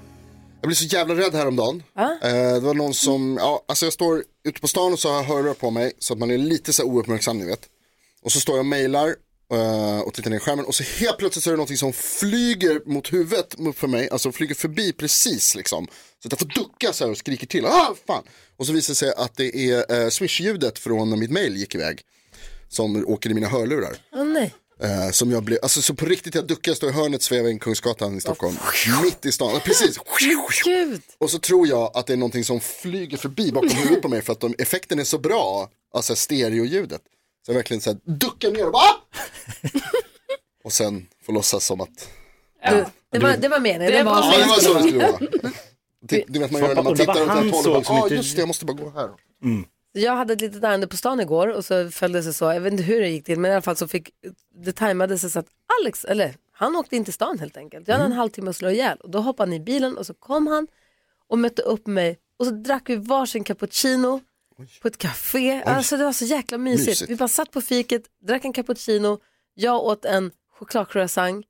Speaker 3: Jag blev så jävla rädd häromdagen. Eh, det var någon som, ja, alltså jag står ute på stan och så har jag hörlurar på mig så att man är lite så här ouppmärksam ni vet. Och så står jag och mejlar eh, och tittar ner i skärmen och så helt plötsligt så är det någonting som flyger mot huvudet mot för mig, alltså flyger förbi precis liksom. Så att jag får ducka så här och skriker till, ah fan! Och så visar det sig att det är eh, swish-ljudet från när mitt mejl gick iväg. Som åker i mina hörlurar.
Speaker 2: Åh nej.
Speaker 3: Eh, som jag blev, alltså så på riktigt jag duckade, står i hörnet, svävar in Kungsgatan i Stockholm. Mitt i stan, Ja, precis.
Speaker 2: Gud.
Speaker 3: Och så tror jag att det är någonting som flyger förbi bakom huvudet på mig för att de, effekten är så bra, alltså stereoljudet. Så jag verkligen så här duckar ner och bara "Ah!" Och sen får låtsas som att,
Speaker 2: Du, det, var, det var meningen.
Speaker 3: Det var- Ja, det var så det skulle vara.
Speaker 2: Vi-
Speaker 3: du vet man gör när man
Speaker 2: Och det
Speaker 3: tittar
Speaker 2: var
Speaker 3: åt ett
Speaker 2: han
Speaker 3: håll och
Speaker 2: såg
Speaker 3: bara,
Speaker 2: som
Speaker 3: ja
Speaker 2: inte-
Speaker 3: just det, jag måste bara gå här.
Speaker 2: Jag hade ett litet ärende på stan igår och så följde det sig så, jag vet inte hur det gick till, men i alla fall så fick, det tajmade sig så att Alex, eller han åkte in till stan helt enkelt. Jag hade en halvtimme att slå ihjäl och då hoppade han i bilen och så kom han och mötte upp mig och så drack vi varsin cappuccino på ett café. Alltså det var så jäkla mysigt.
Speaker 13: Mysigt.
Speaker 2: Vi bara satt på fiket, drack en cappuccino, jag åt en chokladcroissant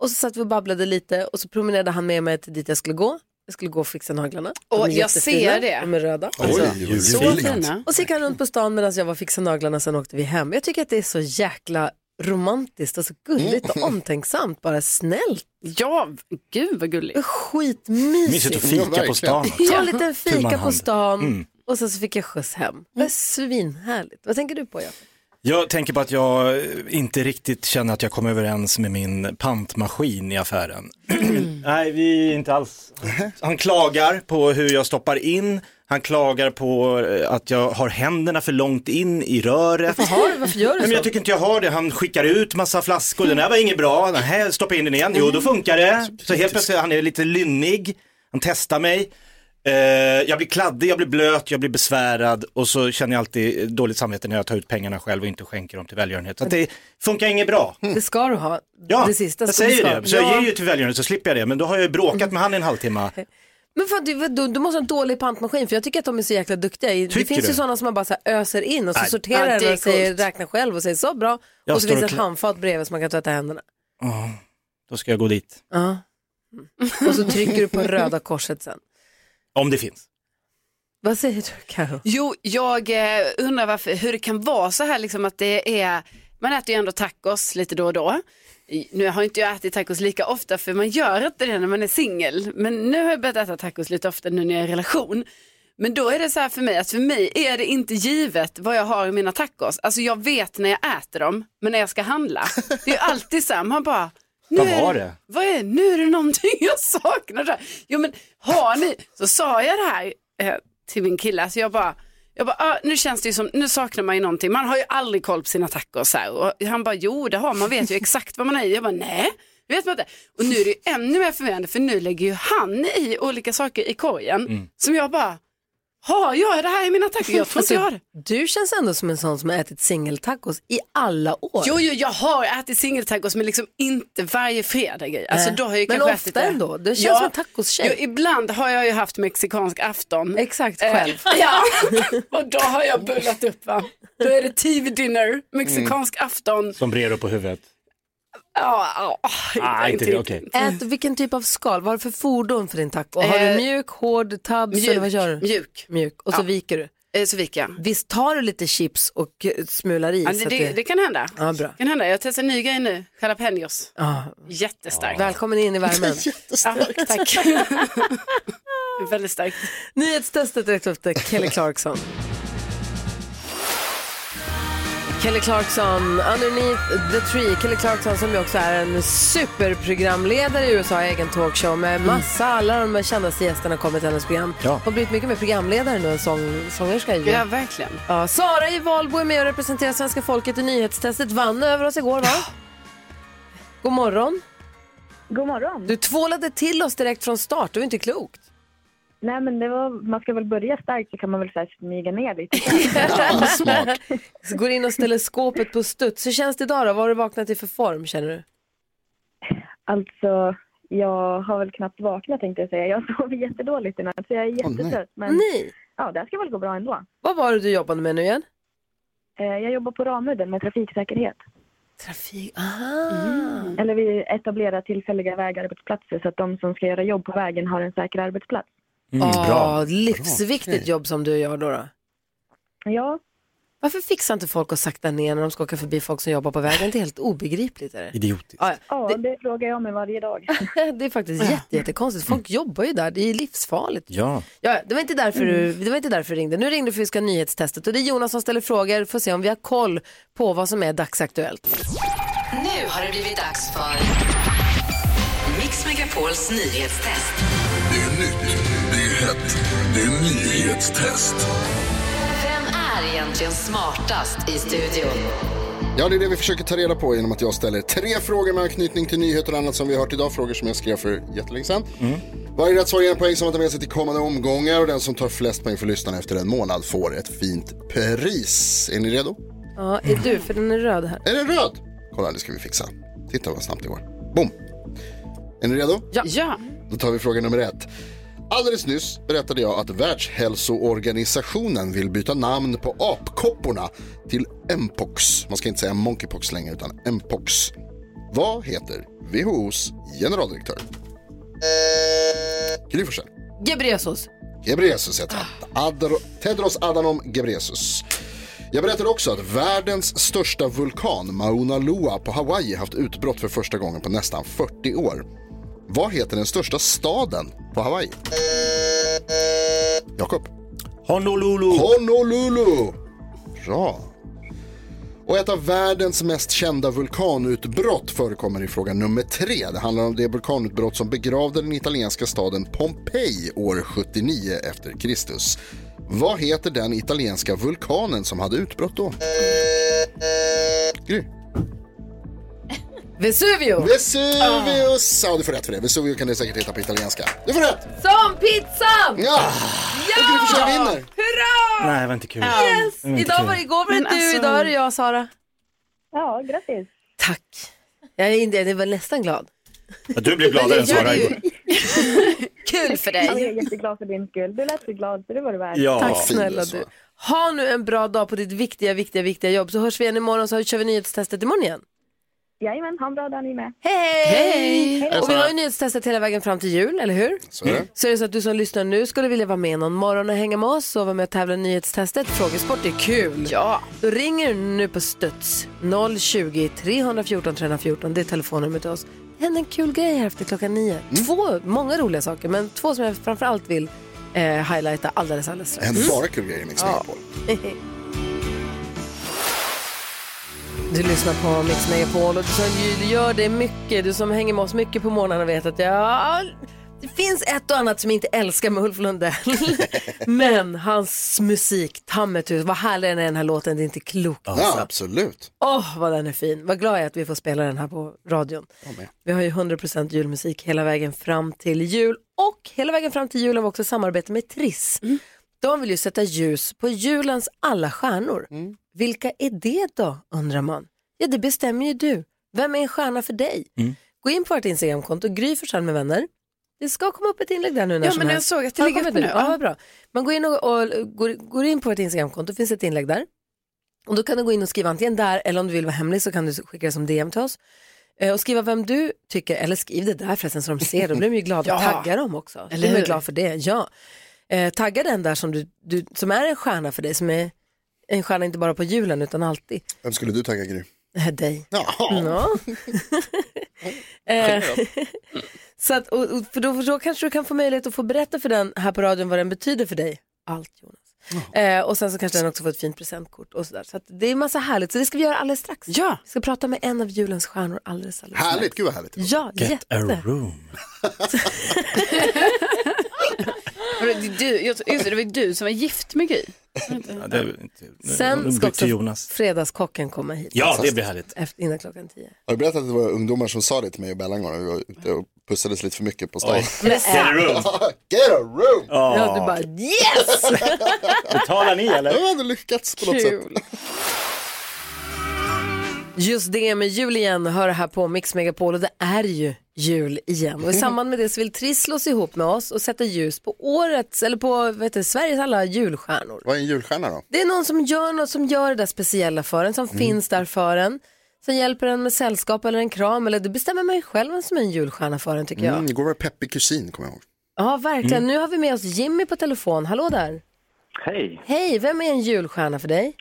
Speaker 2: och så satt vi och babblade lite och så promenerade han med mig till dit jag skulle gå. Jag skulle gå och fixa naglarna.
Speaker 4: Åh,
Speaker 2: De är
Speaker 4: jag
Speaker 2: jättefina.
Speaker 4: ser det.
Speaker 2: De är röda.
Speaker 4: Oj, julfina.
Speaker 2: Alltså, så
Speaker 4: fina.
Speaker 2: fina. Och så gick han runt på stan medan jag var och fixade naglarna, sen åkte vi hem. Jag tycker att det är så jäkla romantiskt och så gulligt
Speaker 5: Mm.
Speaker 2: och omtänksamt, bara snällt.
Speaker 4: Ja, gud vad gulligt.
Speaker 2: Skitmysigt.
Speaker 5: Mysigt att fika Ja, verkligen. på stan också.
Speaker 2: Ta en liten
Speaker 5: Tur man
Speaker 2: fika på
Speaker 5: hann.
Speaker 2: stan
Speaker 5: Mm.
Speaker 2: och sen så fick jag skjuts hem. Det är svinhärligt. Vad tänker du på, Jakob?
Speaker 5: Jag tänker på att jag inte riktigt känner att jag kom överens med min pantmaskin i affären. Nej, vi är inte alls. Han klagar på hur jag stoppar in, han klagar på eh, att jag har händerna för långt in i röret.
Speaker 2: Varför, har du, varför gör du
Speaker 5: Nej,
Speaker 2: så?
Speaker 5: men jag tycker inte jag har det. Han skickar ut massa flaskor. Den här var inget bra. Den här stoppa in den igen. Jo,
Speaker 2: Mm.
Speaker 5: då funkar det. Så helt plötsligt, han är lite lynnig. Han testar mig. Eh, jag blir kladdig, jag blir blöt, jag blir besvärad och så känner jag alltid dåligt samvete när jag tar ut pengarna själv och inte skänker dem till välgörenhet. Så att det funkar inget bra.
Speaker 2: Det ska du ha.
Speaker 5: Mm. Ja,
Speaker 2: det sista
Speaker 5: jag
Speaker 2: ska du
Speaker 5: säger
Speaker 2: ska.
Speaker 5: det. Så jag
Speaker 2: Ja. Mm.
Speaker 5: ger ju till välgörenhet så slipper jag det. Men då har jag ju bråkat med han i en halvtimme.
Speaker 2: Men fan, du, du, du måste ha en dålig pantmaskin för jag tycker att de är så jäkla duktiga. I- det
Speaker 5: Tycker
Speaker 2: finns
Speaker 5: du?
Speaker 2: ju sådana som man bara så här öser in och så
Speaker 5: Nej.
Speaker 2: sorterar
Speaker 5: Ja, det
Speaker 2: den
Speaker 5: är
Speaker 2: och säger,
Speaker 5: coolt.
Speaker 2: räknar själv och säger så bra.
Speaker 5: Jag
Speaker 2: och så
Speaker 5: står
Speaker 2: finns
Speaker 5: och
Speaker 2: ett
Speaker 5: klä-
Speaker 2: handfat bredvid som man kan tvätta händerna.
Speaker 5: Ja, då ska jag gå dit.
Speaker 2: Ja. Mm. Och så trycker du på röda korset sen.
Speaker 5: Om det finns.
Speaker 2: Vad säger du Karo?
Speaker 4: Jo, jag eh, undrar varför, hur det kan vara så här liksom att det är, man äter ju ändå tacos lite då och då. I- Nu har inte jag ätit tacos lika ofta för man gör inte det när man är singel. Men nu har jag börjat äta tacos lite ofta nu när jag är i relation. Men då är det så här för mig att för mig är det inte givet vad jag har i mina tacos. Alltså jag vet när jag äter dem, men när jag ska handla. Det är ju alltid så här, man bara, nu
Speaker 5: Vad
Speaker 4: är
Speaker 5: var
Speaker 4: det-
Speaker 5: det?
Speaker 4: vad är nu är det någonting jag saknar. Så här, Jo men har ni, så sa jag det här eh, till min kille, så jag bara, jag bara ah, nu känns det ju som, nu saknar man ju någonting, man har ju aldrig koll på sina tacos här. Och han bara, jo det har man, man vet ju exakt vad man har i. Jag bara, nej. det Vet man inte. Och nu är det ju ännu mer förvirrande för nu lägger ju han i olika saker i korgen
Speaker 2: Mm.
Speaker 4: som jag bara, har jag det här i mina tacos? Jag tror inte
Speaker 2: Alltså,
Speaker 4: jag har det.
Speaker 2: du känns ändå som en sån som har ätit singeltacos i alla år.
Speaker 4: Jo, jo, jag har ätit singeltacos men liksom inte varje fredag. grej. Alltså,
Speaker 2: Nej.
Speaker 4: då har jag ju
Speaker 2: Men
Speaker 4: kanske
Speaker 2: ofta
Speaker 4: ätit det.
Speaker 2: ändå. Du känns som en tacostjej.
Speaker 4: Jo, ibland har jag ju haft mexikansk afton.
Speaker 2: Exakt,
Speaker 4: själv. ja, och då har jag bullat upp va. Då är det TV-dinner, mexikansk
Speaker 2: Mm.
Speaker 4: afton.
Speaker 5: Sombrero på huvudet.
Speaker 4: Ja, ja,
Speaker 5: Ah, inte det, okej.
Speaker 2: Ät, vilken typ av skal? Vad har du för fordon för din taco? Har
Speaker 4: Eh,
Speaker 2: du mjuk, hård, tabs eller vad gör du?
Speaker 4: Mjuk.
Speaker 2: mjuk. Och så
Speaker 4: Ja. Eh,
Speaker 2: viker du?
Speaker 4: Så viker jag.
Speaker 2: Visst tar du lite chips och eh, smular i?
Speaker 4: Ja,
Speaker 2: så
Speaker 4: Alltså, det,
Speaker 2: att
Speaker 4: det, det kan hända.
Speaker 2: Ja, bra.
Speaker 4: kan hända. Jag testar en ny grej nu, jalapenos.
Speaker 2: Ja.
Speaker 4: Jättestarkt.
Speaker 2: Välkommen in i värmen.
Speaker 4: Ja, tack. Väldigt starkt.
Speaker 2: Nyhetstestet direkt efter Kelly Clarkson. Kelly Clarkson, Underneath the Tree. Kelly Clarkson som ju också är en superprogramledare i USA, har egen talkshow med massa, alla de kändaste gästerna har kommit till hennes program. Ja. Har blivit mycket mer programledare nu än sång, sångerska ju.
Speaker 4: Ja, verkligen.
Speaker 2: Ja, Sara i Valbo är med och representerar svenska folket i nyhetstestet. Vann över oss igår, va? God morgon.
Speaker 17: God morgon.
Speaker 2: Du tvålade till oss direkt från start. Du är inte klok.
Speaker 17: Nej, men det var, man ska väl börja starkt så kan man väl så här smyga ner lite.
Speaker 2: Så Går in och ställer skåpet på studs. Hur känns det idag då? Vad har du vaknat i för form känner du?
Speaker 17: Alltså, jag har väl knappt vaknat tänkte jag säga. Jag sover jättedåligt i natt så jag är
Speaker 2: nej.
Speaker 17: jättetrött. men
Speaker 2: Nej.
Speaker 17: ja, det här ska väl gå bra ändå.
Speaker 2: Vad var det du jobbade med nu igen?
Speaker 17: Eh, Jag jobbar på Ramudden med trafiksäkerhet. Mm.
Speaker 2: Trafik, aha.
Speaker 17: Eller vi etablerar tillfälliga vägarbetsplatser så att de som ska göra jobb på vägen har en säker arbetsplats.
Speaker 2: Mm,
Speaker 17: bra.
Speaker 2: livsviktigt jobb som du gör då, då.
Speaker 17: Ja.
Speaker 2: Varför fixar inte folk att sakta ner när de ska åka förbi folk som jobbar på vägen? Det är helt obegripligt. Är det?
Speaker 5: Idiotiskt.
Speaker 2: Ja,
Speaker 17: Ja, det frågar jag mig varje dag.
Speaker 2: det är faktiskt jätte, jättekonstigt. Folk jobbar ju där. Det är livsfarligt.
Speaker 5: Ja.
Speaker 2: Ja, det var inte därför du,
Speaker 3: Mm.
Speaker 2: det var inte därför du ringde. Nu ringde du för att vi ska ha nyhetstestet och det är Jonas som ställer frågor. Får se om vi har koll på vad som är dagsaktuellt.
Speaker 13: Nu har det blivit dags för Mix Megapols nyhetstest.
Speaker 18: Det är nytt, det är hett, det är nyhetstest.
Speaker 13: Vem är egentligen smartast i studion?
Speaker 3: Ja, det är det vi försöker ta reda på genom att jag ställer tre frågor med anknytning till nyheter och annat som vi har hört idag. Frågor som jag skrev för jättelänge sedan. Varje rätt svar ger en poäng som man tar med sig till kommande omgångar och den som tar flest poäng för lyssnarna efter en månad får ett fint pris. Är ni redo?
Speaker 2: Ja, är du? För den är röd här.
Speaker 3: Är den röd? Kolla, det ska vi fixa. Titta vad snabbt det går. Boom! Är ni redo?
Speaker 4: Ja.
Speaker 3: Då tar vi fråga nummer ett. Alldeles nyss berättade jag att Världshälsoorganisationen vill byta namn på apkopporna till Mpox. Man ska inte säga Monkeypox längre, utan Mpox. Vad heter WHOs generaldirektör? Gry Forssell.
Speaker 1: Gebresos.
Speaker 3: Gebresus heter han. Adro- Tedros Adhanom Gebresus. Jag berättade också att världens största vulkan, Mauna Loa på Hawaii, haft utbrott för första gången på nästan 40 år. Vad heter den största staden på Hawaii? Jakob.
Speaker 5: Honolulu.
Speaker 3: Honolulu. Bra. Och ett av världens mest kända vulkanutbrott förekommer i fråga nummer tre. Det handlar om det vulkanutbrott som begravde den italienska staden Pompeji år 79 efter Kristus. Vad heter den italienska vulkanen som hade utbrott då? Gry?
Speaker 1: Vesuvio.
Speaker 3: Vesuvius! Ja, du får rätt för det. Vesuvio kan du säkert heta på italienska. Du får rätt!
Speaker 1: Som pizzan!
Speaker 3: Ja!
Speaker 1: Ja!
Speaker 3: Gry Forssell vinner.
Speaker 1: Hurra!
Speaker 5: Nej, det var inte kul.
Speaker 1: Yes!
Speaker 3: Mm,
Speaker 2: Mm.
Speaker 5: Det
Speaker 1: Idag
Speaker 5: var inte kul.
Speaker 1: var det igår var det
Speaker 2: Men
Speaker 1: du,
Speaker 2: alltså-
Speaker 1: idag är det jag Sara.
Speaker 17: Ja, grattis.
Speaker 2: Jag är, inte, jag är väl nästan glad.
Speaker 5: Ja, Du blev gladare än
Speaker 2: Jag gör
Speaker 5: Sara
Speaker 2: det ju.
Speaker 5: igår.
Speaker 1: Kul för
Speaker 17: Jag är jätteglad för din skull. Du lät så glad, så det var det värt.
Speaker 5: Ja.
Speaker 2: Tack
Speaker 5: Fin
Speaker 2: snälla
Speaker 5: så.
Speaker 2: du. Ha nu en bra dag på ditt viktiga, viktiga, viktiga jobb. Så hörs vi igen imorgon så kör vi nyhetstestet imorgon igen.
Speaker 17: Jajamän, ha en bra dag ni med.
Speaker 2: Hej!
Speaker 17: Hej! Hej.
Speaker 2: Och vi har ju nyhetstestet hela vägen fram till jul, eller hur?
Speaker 3: Så är det.
Speaker 2: Så är det så att du som lyssnar nu skulle vilja vara med någon morgon och hänga med oss och vara med och tävla i nyhetstestet. Frågesport är kul. Ja. Då ringer du nu på studs 020 314 314. Det är telefonnumret till oss. Det händer en kul grej här efter klockan nio. Två, många roliga saker, men två som jag framförallt vill eh, highlighta alldeles, alldeles
Speaker 3: Det
Speaker 2: strax. Mm.
Speaker 3: händer bara kul grejer i Mix Megapol.
Speaker 2: Du lyssnar på Mix Megapol och du som ju gör det mycket, du som hänger med oss mycket på morgnarna vet att ja, det finns ett och annat som jag inte älskar med Ulf Lundell. Men hans musik, Tammetus, vad härlig den är den här låten, det är inte klokt. alltså.
Speaker 3: Ja, absolut.
Speaker 2: Åh, vad den är fin. Vad glad jag är att vi får spela den här på radion. Vi har ju 100% julmusik hela vägen fram till jul och hela vägen fram till jul har vi också samarbete med Triss. De vill ju sätta ljus på julens alla stjärnor. Vilka är det då, undrar man? Ja, det bestämmer ju du. Vem är en stjärna för dig?
Speaker 13: Mm.
Speaker 2: Gå in på vårt Instagramkonto, Gry Forssell med vänner. Det ska komma upp ett inlägg där nu när
Speaker 4: Ja,
Speaker 2: som
Speaker 4: men jag
Speaker 2: helst.
Speaker 4: såg att det
Speaker 2: Har
Speaker 4: ligger
Speaker 2: kommit
Speaker 4: uppe
Speaker 2: ut?
Speaker 4: nu.
Speaker 2: Ja,
Speaker 4: Ja.
Speaker 2: vad bra. Man går in, och, och, går, går in på vårt Instagramkonto, det finns ett inlägg där. Och då kan du gå in och skriva antingen där eller om du vill vara hemlig så kan du skicka det som DM till oss. Eh, Och skriva vem du tycker, eller skriv det där förresten så de ser, då blir de ju glada.
Speaker 4: Ja.
Speaker 2: Tagga dem också,
Speaker 4: Eller
Speaker 2: eller de är
Speaker 4: hur?
Speaker 2: glada för det. Ja. Eh, tagga den där som, du, du, som är en stjärna för dig, som är en stjärna inte bara på julen utan alltid.
Speaker 3: Vem skulle du tagga Gry?
Speaker 2: Eh, Dig.
Speaker 3: Ja.
Speaker 2: Eh, så att, och, och, för då, för då kanske du kan få möjlighet att få berätta för den här på radion vad den betyder för dig. Allt Jonas. Eh, och sen så kanske den också får ett fint presentkort och sådär. Så att det är massa härligt, så det ska vi göra alldeles strax. Ja. Vi ska prata med en av julens stjärnor alldeles, alldeles
Speaker 3: Härligt, gud vad härligt.
Speaker 2: strax. Ja,
Speaker 5: Get a
Speaker 2: jätte.
Speaker 5: room.
Speaker 4: Du, jag, just det, det var ju du som var gift med Gry.
Speaker 5: Ja, det är inte, nu,
Speaker 2: Sen
Speaker 5: nu
Speaker 2: ska
Speaker 5: blir
Speaker 2: också
Speaker 5: till Jonas.
Speaker 2: fredagskocken komma hit.
Speaker 5: Ja, det blir härligt.
Speaker 2: Efter, innan klockan tio.
Speaker 3: Har du berättat att det var ungdomar som sa det till mig och Bellan en gång när vi var ute och pussades lite för mycket på stan?
Speaker 5: Oj. Get a room.
Speaker 3: Get a room!
Speaker 2: Ja, du bara yes!
Speaker 5: Betalar ni eller?
Speaker 3: Jag hade lyckats på något sätt.
Speaker 2: Kul. Just det med jul igen hör här på Mix Megapol och det är ju jul igen. Och i samband med det så vill Triss slås ihop med oss och sätta ljus på årets, eller på vet du, Sveriges alla julstjärnor.
Speaker 3: Vad är en julstjärna då?
Speaker 2: Det är någon som gör något som gör det där speciella för en, som
Speaker 19: Mm.
Speaker 2: finns där för en. Som hjälper en med sällskap eller en kram eller det bestämmer man ju själv vem som är en julstjärna för en tycker jag.
Speaker 3: Mm, igår var det Peppig kusin, kommer jag ihåg.
Speaker 2: Ja, verkligen.
Speaker 3: Mm.
Speaker 2: Nu har vi med oss Jimmy på telefon. Hallå där.
Speaker 19: Hej!
Speaker 2: Hej, vem är en julstjärna för dig?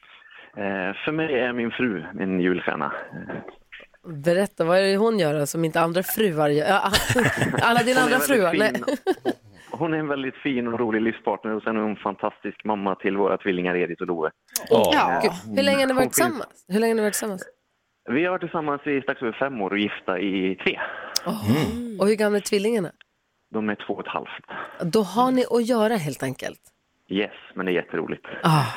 Speaker 19: Eh, för mig är min fru min julstjärna. Eh,
Speaker 2: Berätta, vad är det hon gör då, som inte andra fruar gör? Ja, Alla dina
Speaker 19: Hon är
Speaker 2: andra fruar? Nej.
Speaker 19: väldigt Hon är en väldigt fin och rolig livspartner och sen är hon en fantastisk mamma till våra tvillingar Edith och Loe.
Speaker 2: Ja.
Speaker 19: Eh,
Speaker 2: Gud. Hur länge har ni
Speaker 19: hon
Speaker 2: varit
Speaker 19: finns-
Speaker 2: tillsammans? Hur länge har ni varit tillsammans?
Speaker 19: Vi har varit tillsammans i strax över fem år och gifta i tre.
Speaker 2: Och hur gamla är tvillingarna?
Speaker 19: De är två och ett halvt.
Speaker 2: Då har ni att göra helt enkelt.
Speaker 19: Yes, men det är jätteroligt.
Speaker 2: Ah,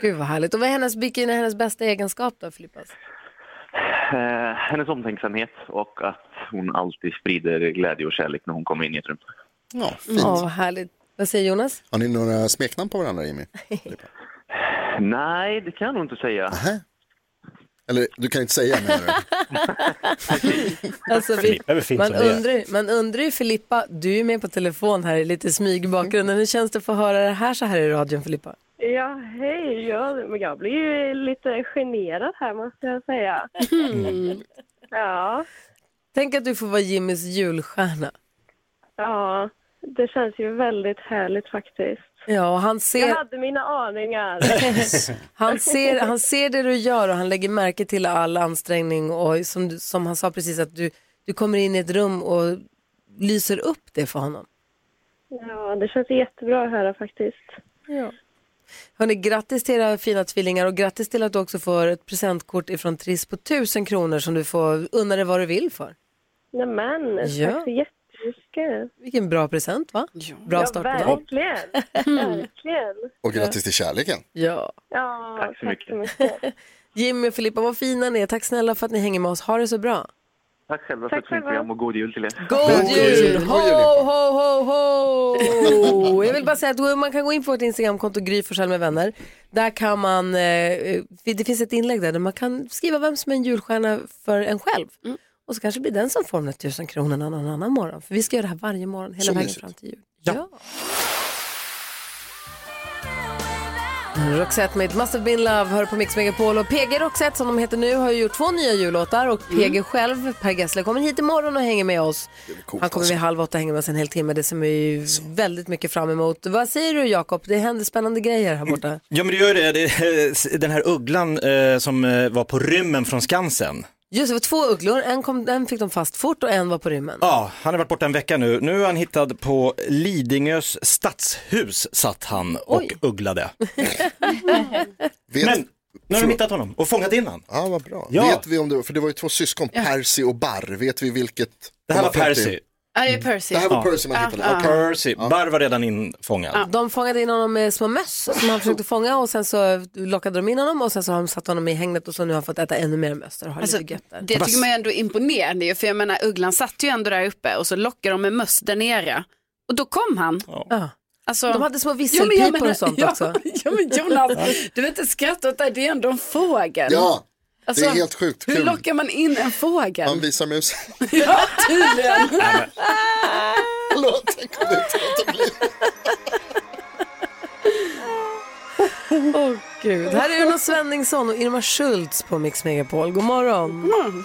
Speaker 2: Gud vad härligt. Och vad är hennes, vilken är hennes bästa egenskap då, Filippas?
Speaker 19: Eh, hennes omtänksamhet och att hon alltid sprider glädje och kärlek när hon kommer in i ett rum.
Speaker 3: Ja,
Speaker 2: fint. vad härligt. Vad säger Jonas?
Speaker 3: Har ni några smeknamn på varandra, Jimmy?
Speaker 19: Nej, det kan jag nog inte säga.
Speaker 3: Eller du kan inte säga, menar du?
Speaker 2: Alltså, vi,
Speaker 3: Filippa är väl fint
Speaker 2: man,
Speaker 3: som det är.
Speaker 2: undrar, ju- man undrar ju Filippa, du är med på telefon här i lite smyg i bakgrunden. Hur känns det att få höra det här så här i radion Filippa?
Speaker 20: Ja, hej. Ja, men jag blir ju lite generad här måste jag säga. Ja,
Speaker 2: Mm. Tänk att du får vara Jimmys julstjärna.
Speaker 20: ja. Det känns ju väldigt härligt faktiskt.
Speaker 2: Ja, och han
Speaker 20: Jag
Speaker 2: ser,
Speaker 20: hade mina aningar.
Speaker 2: han, ser, han ser det du gör och han lägger märke till all ansträngning och som, du- som han sa precis att du, du kommer in i ett rum och lyser upp det för honom.
Speaker 20: Ja, det känns jättebra att höra faktiskt.
Speaker 2: Ja. Hörni, grattis till era fina tvillingar och grattis till att du också får ett presentkort ifrån Triss på 1000 kronor som du får unna dig vad du vill för.
Speaker 20: Nämen,
Speaker 2: Ja.
Speaker 20: tack så jättemycket.
Speaker 2: Vilken bra present va? Bra start på
Speaker 20: ja,
Speaker 2: dagen.
Speaker 20: verkligen.
Speaker 2: Mm.
Speaker 20: verkligen.
Speaker 3: Och grattis till kärleken.
Speaker 2: Ja.
Speaker 20: Ja, tack så mycket.
Speaker 2: Jimmy och Filippa, vad fina ni är. Tack snälla för att ni hänger med oss. Ha det så bra.
Speaker 19: Tack själva för ett fint program och god jul till er.
Speaker 2: God jul! Ho, ho, ho, ho! Jag vill bara säga att man kan gå in på vårt Instagramkonto Gry Forssell med vänner. Där kan man, eh, det finns ett inlägg där, där man kan skriva vem som är en julstjärna för en själv. Och så kanske det blir den som får de där tusen kronorna någon annan morgon. För vi ska göra det här varje morgon, hela
Speaker 13: Så
Speaker 2: vägen
Speaker 13: mysigt.
Speaker 2: fram till jul. Ja. Roxette med It Must Have Been Love hör på Mix Megapol och PG Roxette som de heter nu har ju gjort två nya jullåtar och PG
Speaker 3: Mm.
Speaker 2: själv, Per Gessle, kommer hit imorgon och hänger med oss. Han
Speaker 3: alltså.
Speaker 2: kommer vid halv åtta hänga med oss en hel timme, det ser man ju väldigt mycket fram emot. Vad säger du Jakob, det händer spännande grejer här borta.
Speaker 5: Ja men det gör det, det den här ugglan eh, som eh, var på rymmen från Skansen.
Speaker 2: Just det, det var två ugglor, en, kom, en fick de fast fort och en var på rymmen.
Speaker 5: Ja, han har varit borta en vecka nu. Nu är han hittad på Lidingös stadshus satt han och ugglade. Men nu har de hittat honom och fångat in honom.
Speaker 3: Ja, vad bra.
Speaker 5: Ja.
Speaker 3: Vet vi om det, för det var ju två syskon, Percy och Barr. Vet vi vilket?
Speaker 5: Det här
Speaker 3: de
Speaker 5: var Percy.
Speaker 4: Ja, det är Percy.
Speaker 3: Det här var Percy man hittade.
Speaker 4: Ja,
Speaker 3: Okej.
Speaker 5: Percy, Barr var redan infångad.
Speaker 2: De fångade in honom med små möss som han försökte fånga och sen så lockade de in honom och sen så har de satt honom i hängnet och så nu har han fått äta ännu mer möss och har
Speaker 4: Alltså,
Speaker 2: lite gött där.
Speaker 4: det tycker man ju ändå är imponerande ju, för jag menar ugglan satt ju ändå där uppe och så lockade de med möss där nere och då kom han.
Speaker 2: Ja.
Speaker 4: Alltså,
Speaker 2: De hade små
Speaker 4: Ja, men jag
Speaker 2: visselpipor
Speaker 4: menar-
Speaker 2: och sånt
Speaker 4: ja,
Speaker 2: också.
Speaker 4: Ja men Jonas, du vet inte skratta åt det, det är ändå en fågel. Alltså,
Speaker 3: Ja, det är helt sjukt.
Speaker 4: Hur
Speaker 3: Kul.
Speaker 4: lockar man in en fågel?
Speaker 3: Han visar musen.
Speaker 4: Ja, tydligen.
Speaker 3: Förlåt, jag kunde inte låta bli.
Speaker 2: Åh gud. Här är Uno Svenningsson och Irma Schultz på Mix Megapol. God morgon.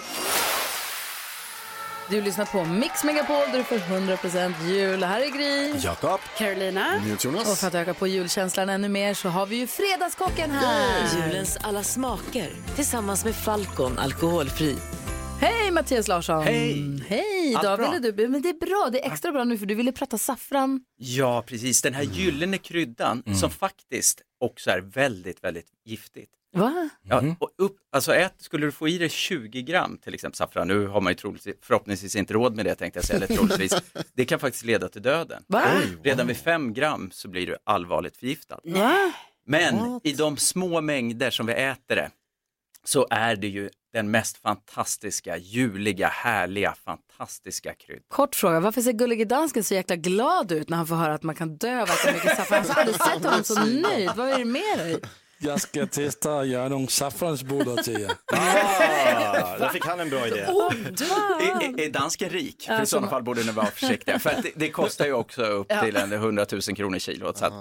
Speaker 2: Du lyssnar på Mix Megapol där du får 100% jul. Här är Gry.
Speaker 3: Jakob.
Speaker 4: Carolina.
Speaker 3: Jonas.
Speaker 2: Och för att öka på julkänslan ännu mer så har vi ju Fredagskocken här.
Speaker 6: Julens alla smaker tillsammans med Falcon alkoholfri.
Speaker 2: Hej Mattias Larsson.
Speaker 21: Hej.
Speaker 2: Hej.
Speaker 21: Allt
Speaker 2: Idag
Speaker 21: bra?
Speaker 2: ville du, men det är bra. Det är extra bra nu för du ville prata saffran.
Speaker 21: Ja, precis. Den här
Speaker 5: Mm.
Speaker 21: gyllene kryddan som faktiskt också är väldigt, väldigt giftigt.
Speaker 2: Va?
Speaker 21: Ja, och upp, alltså ät, skulle du få i dig 20 gram till exempel saffran, nu har man ju troligtvis, förhoppningsvis inte råd med det tänkte jag säga, eller troligtvis, det kan faktiskt leda till döden.
Speaker 2: Va? Oj,
Speaker 21: Redan vid 5 gram så blir du allvarligt förgiftad.
Speaker 2: Va?
Speaker 21: Men i de små mängder som vi äter det så är det ju den mest fantastiska, juliga, härliga, fantastiska kryddan.
Speaker 1: Kort fråga, varför ser Gullige Dansken så jäkla glad ut när han får höra att man kan dö av att det är mycket saffran? Jag har aldrig sett honom så nöjd. Vad är det med dig?
Speaker 12: Jag ska testa att göra någon saffransbullar till er.
Speaker 21: Ah,
Speaker 5: där fick han en bra idé.
Speaker 21: Är, är dansken rik? Ja, För i sådana som- fall borde ni vara försiktiga. För att det, det kostar ju också upp Ja. till en 100 000 kronor kilot. Så att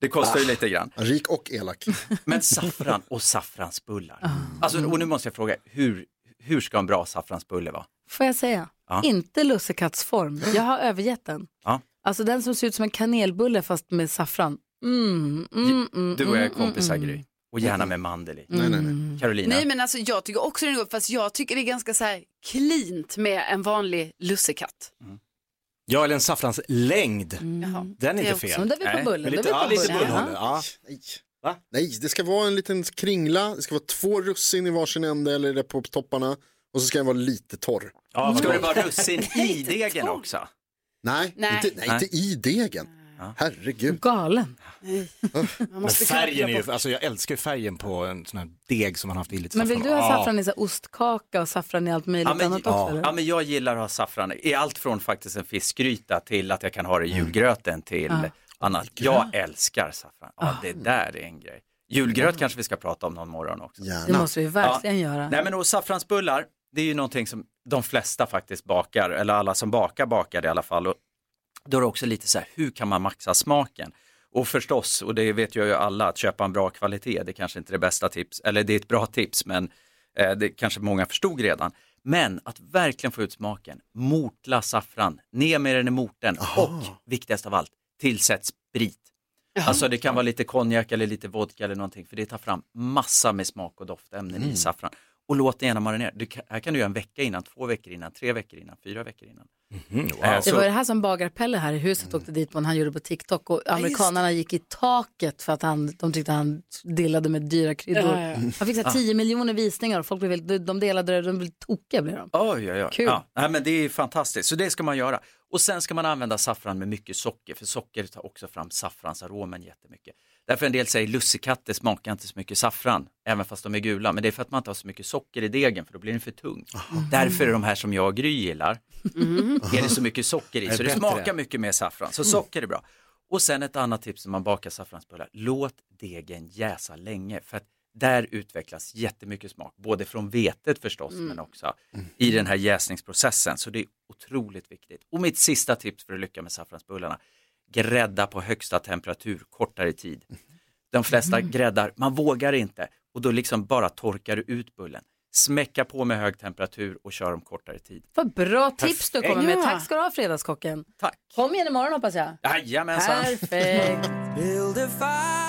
Speaker 21: det kostar ju
Speaker 3: Ah.
Speaker 21: lite grann.
Speaker 3: Rik och elak.
Speaker 21: Men saffran och saffransbullar. Alltså, och nu måste jag fråga, hur, hur ska en bra saffransbulle vara?
Speaker 1: Får jag säga?
Speaker 21: Ja.
Speaker 1: Inte lussekattsform. Jag har övergett den.
Speaker 21: Ja.
Speaker 1: Alltså den som ser ut som en kanelbulle fast med saffran. Mm, mm, mm,
Speaker 21: Du och jag är
Speaker 1: mm,
Speaker 21: kompisar
Speaker 1: mm,
Speaker 21: Gry. Och gärna med mandel i.
Speaker 1: Nej, nej,
Speaker 21: Carolina.
Speaker 4: Nej men alltså jag tycker också det är gott, fast jag tycker det är ganska så här cleant med en vanlig lussekatt.
Speaker 5: Ja, eller en saffranslängd.
Speaker 4: Mm.
Speaker 5: Den är
Speaker 4: Det
Speaker 5: inte
Speaker 4: är också-
Speaker 5: fel.
Speaker 4: men där är vi på
Speaker 5: Nej.
Speaker 4: bullen,
Speaker 5: Men
Speaker 4: där
Speaker 5: Lite,
Speaker 4: är vi
Speaker 5: ja,
Speaker 4: på
Speaker 5: lite
Speaker 4: bullen.
Speaker 5: bullhållet. Ja.
Speaker 3: Nej. Nej, det ska vara en liten kringla, det ska vara två russin i varsin ände eller där på topparna och så ska den vara lite torr.
Speaker 21: Ja, ska det vara russin i degen också?
Speaker 3: Nej,
Speaker 21: Nej.
Speaker 3: Inte, nej, inte i degen. Herregud.
Speaker 1: Galen.
Speaker 5: Men
Speaker 1: måste
Speaker 5: färgen är
Speaker 1: knappa
Speaker 5: ju,
Speaker 1: bort.
Speaker 5: alltså jag älskar ju färgen på en sån här deg som man haft i lite
Speaker 1: Men vill du
Speaker 5: saffran.
Speaker 1: ha
Speaker 21: Ja.
Speaker 1: saffran i så här ostkaka och saffran i allt möjligt
Speaker 21: Ja men,
Speaker 1: annat också?
Speaker 21: ja.
Speaker 1: eller?
Speaker 21: ja, men jag gillar att ha saffran i allt från faktiskt en fiskgryta till att jag kan ha det i julgröten till
Speaker 1: Mm. Ja. Ah.
Speaker 21: annat. Jag älskar saffran. Ja, det där är en grej. Julgröt kanske vi ska prata om någon morgon också.
Speaker 1: Det måste vi verkligen göra.
Speaker 21: Nej men och saffransbullar, det är ju någonting som de flesta faktiskt bakar, eller alla som bakar bakar i alla fall. Och då är det också lite så här, hur kan man maxa smaken? Och förstås, och det vet jag ju alla, att köpa en bra kvalitet, det kanske inte är det bästa tips, eller det är ett bra tips, men eh, det kanske många förstod redan. Men att verkligen få ut smaken, mortla saffran, ner med den i morten och viktigast av allt, tillsätt sprit. Alltså det kan vara lite konjak eller lite vodka eller någonting för det tar fram massa med smak och doftämnen
Speaker 13: Mm.
Speaker 21: i saffran. Och låt det gärna marinera. Du, kan- här kan du göra en vecka innan, två veckor innan, tre veckor innan, fyra veckor innan. Eh,
Speaker 2: Det
Speaker 21: så-
Speaker 2: var det här som bagarpelle här i
Speaker 21: Mm.
Speaker 2: huset åkte dit på när han gjorde på TikTok och amerikanarna gick i taket för att han, de tyckte han dillade med dyra kryddor.
Speaker 21: Ja, ja, ja.
Speaker 2: Han fick så här
Speaker 21: Ah.
Speaker 2: 10 miljoner visningar och folk blev, helt- de- de delade det, de blev tokiga. Blev de.
Speaker 21: Oj, oj, oj.
Speaker 2: Kul.
Speaker 21: Ja, nej, men det är fantastiskt, så det ska man göra. Och sen ska man använda saffran med mycket socker, för socker tar också fram saffransaromen jättemycket. Därför en del säger lussekatter smakar inte så mycket saffran, även fast de är gula, men det är för att man inte har så mycket socker i degen, för då blir den för tung. Därför är de här som jag och Gry gillar, är det så mycket socker i,
Speaker 13: Mm. Är
Speaker 21: så det
Speaker 13: bättre.
Speaker 21: smakar mycket mer saffran, så
Speaker 13: Mm.
Speaker 21: socker är bra. Och sen ett annat tips när man bakar saffransbullar, låt degen jäsa länge, för att där utvecklas jättemycket smak, både från vetet förstås,
Speaker 13: Mm.
Speaker 21: men också i den här jäsningsprocessen. Så det är otroligt viktigt. Och mitt sista tips för att lyckas med saffransbullarna, grädda på högsta temperatur kortare tid. De flesta
Speaker 13: Mm.
Speaker 21: gräddar, man vågar inte och då liksom bara torkar du ut bullen. Smäcka på med hög temperatur och kör dem kortare tid.
Speaker 2: Vad bra tips du kommer med.
Speaker 21: Perfekt.
Speaker 2: Tack ska du ha Fredagskocken.
Speaker 21: Tack.
Speaker 2: Kom igen imorgon hoppas jag.
Speaker 21: Jajamensan!
Speaker 2: Perfekt.
Speaker 13: Build a fire.